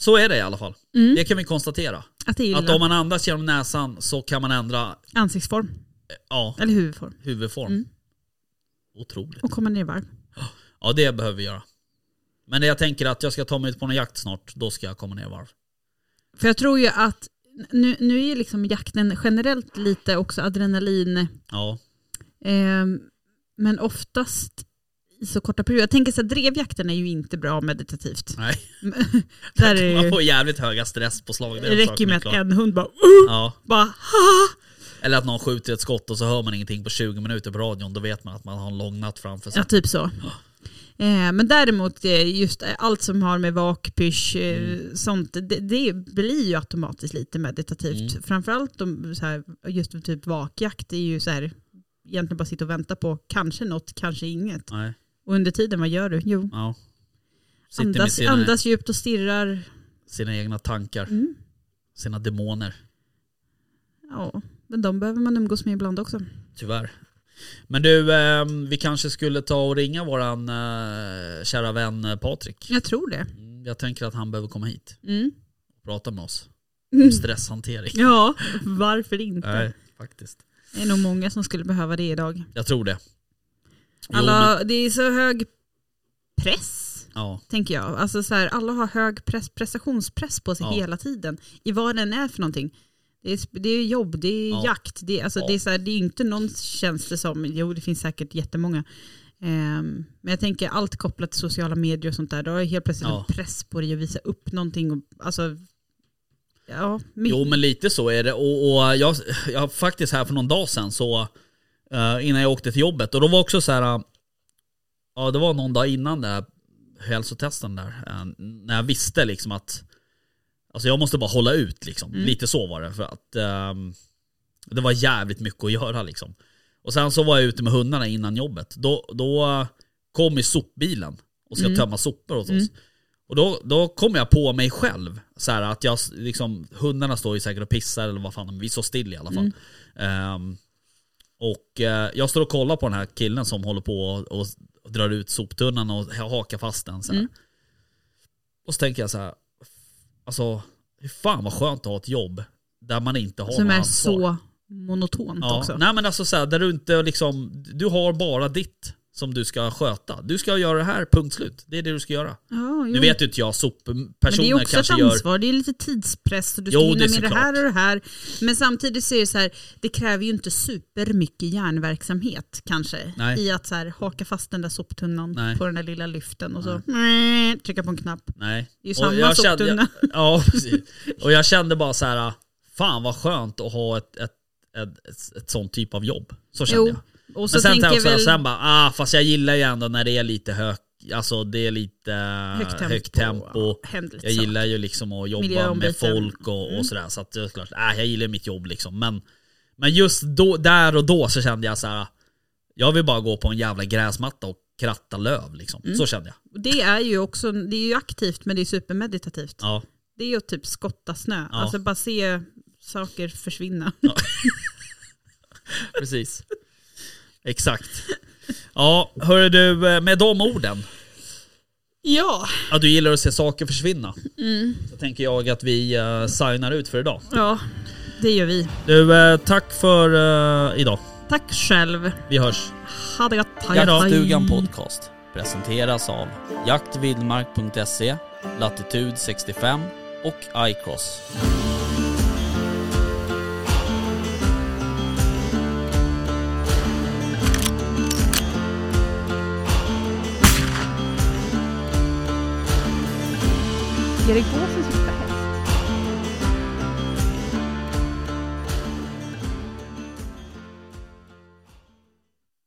så är det i alla fall.
Mm.
Det kan vi konstatera.
att det är
Att om
illa.
man andas genom näsan så kan man ändra,
Ansiktsform,
ja
eller huvudform.
huvudform.
Mm.
Otroligt.
Och komma ner i varv.
Ja, det behöver vi göra. Men det jag tänker att jag ska ta mig ut på någon jakt snart, då ska jag komma ner i varv.
För jag tror ju att nu, nu är liksom jakten generellt lite också adrenalin,
Ja,
eh, men oftast i så korta perioder. Jag tänker så här, drevjakten är ju inte bra meditativt. *laughs*
nej.
Där är det
Man
ju,
får jävligt höga stresspåslag.
det räcker ju med att
en...
en hund bara, uh,
Ja,
bara "Ha!"
eller att någon skjuter ett skott och så hör man ingenting på 20 minuter på radion. Då vet man att man har en lång natt framför sig.
Ja, typ så. Eh, men däremot eh, just eh, allt som har med vak, pysch, eh,
Mm.
sånt, det, det blir ju automatiskt lite meditativt.
Mm.
Framförallt de, så här, just typ vakjakt är ju så här, egentligen bara sitta och vänta på kanske något, kanske inget.
Nej,
Och under tiden, vad gör du? Jo,
ja. Sitter med
andas,
sina,
andas djupt och stirrar.
sina egna tankar.
Mm.
Sina demoner,
Ja, men de behöver man umgås med ibland också.
tyvärr. Men du, eh, vi kanske skulle ta och ringa våran eh, kära vän eh, Patrik.
Jag tror det.
Mm, Jag tänker att han behöver komma hit
Mm.
och prata med oss.
Mm.
Om stresshantering.
Ja, varför inte?
Nej, faktiskt.
Det är nog många som skulle behöva det idag.
Jag tror det. Jo, men-
Alla, det är så hög press,
ja,
tänker jag. Alltså så här, alla har hög press, prestationspress på sig
Ja.
hela tiden, i vad den är för någonting. Det är, sp- det är jobb, det är
Ja.
jakt, det är, alltså,
Ja.
det, är så här, det är inte någon känns det som, jo det finns säkert jättemånga. Um, men jag tänker allt kopplat till sociala medier och sånt där, då har jag helt plötsligt
Ja.
en press på dig att visa upp någonting. Och, alltså, ja, my-
jo men lite så är det. Och, och jag, jag faktiskt här för någon dag sedan så eh, innan jag åkte till jobbet och då var också så här. eh, ja det var någon dag innan det här hälsotesten där. eh, när jag visste liksom att alltså jag måste bara hålla ut liksom. Lite så var det för att ehm, det var jävligt mycket att göra liksom. Och sen så var jag ute med hundarna innan jobbet. Då, då kom ju sopbilen och ska
Mm.
tömma sopor åt oss. Och då, då kom jag på mig själv, så här, att jag s- liksom, hundarna står ju säkert och pissar eller vad fan, de- vi står still i alla fall.
Mm.
Ehm, och eh, jag står och kollar på den här killen som håller på och, och drar ut soptunnan och ha- hakar fast den så här.
Mm.
Och så tänker jag så här, alltså hur fan vad skönt att ha ett jobb där man inte har
som
något
är
ansvar.
så monotont också.
Nej men alltså så här, där du inte liksom, du har bara ditt som du ska sköta. Du ska göra det här, punkt slut. Det är det du ska göra.
Ja,
Nu
jo.
vet ju inte jag,
Mm. Men det är
soppersoner
också ett
kanske gör...
ansvar, det är lite tidspress och du ska
Jo, det
hinna
är
med det
såklart.
här och det här. Men samtidigt så är det så här, det kräver ju inte supermycket hjärnverksamhet kanske.
Nej.
I att så här, haka fast den där soptunnan
Nej.
på den där lilla lyften och så trycka på en knapp.
Nej.
Det är ju
Och
samma
jag kände-
*laughs* soptunna.
jag- Ja, precis. Och jag kände bara så här, fan vad skönt att ha ett, ett, ett, ett, ett sånt typ av jobb. Så kände jag.
och så
Men sen
tänker
tänkte
jag
jag
väl,
också, sen bara, ah, fast jag gillar ju ändå när det är lite högt, alltså det är lite eh,
högt tempo.
Högt tempo.
ja, händer lite
Jag
så.
gillar ju liksom att jobba
Miljöombyten. Mm.
med folk och, och sådär. Så att det är klart, äh, jag gillar mitt jobb liksom. Men, men just då, där och då så kände jag så här. jag vill bara gå på en jävla gräsmatta och kratta löv liksom.
Mm.
Så kände jag.
Och Det är ju också, det är ju aktivt men det är supermeditativt.
Ja.
Det är ju att typ skotta snö,
Ja.
alltså bara se saker försvinna.
Precis. Exakt. Ja, hörru du, eh, med de orden,
*laughs* Ja,
att du
Mm.
gillar att se saker försvinna, så tänker jag att vi eh, signar ut för idag.
ja. Det gör vi.
Du, eh, tack för eh, idag.
Tack själv.
Vi hörs.
Ha det gött. Hej då.
Jaktstugan Podcast presenteras av jaktvildmark.se, Latitude 65 och iCross.
Erik Båsen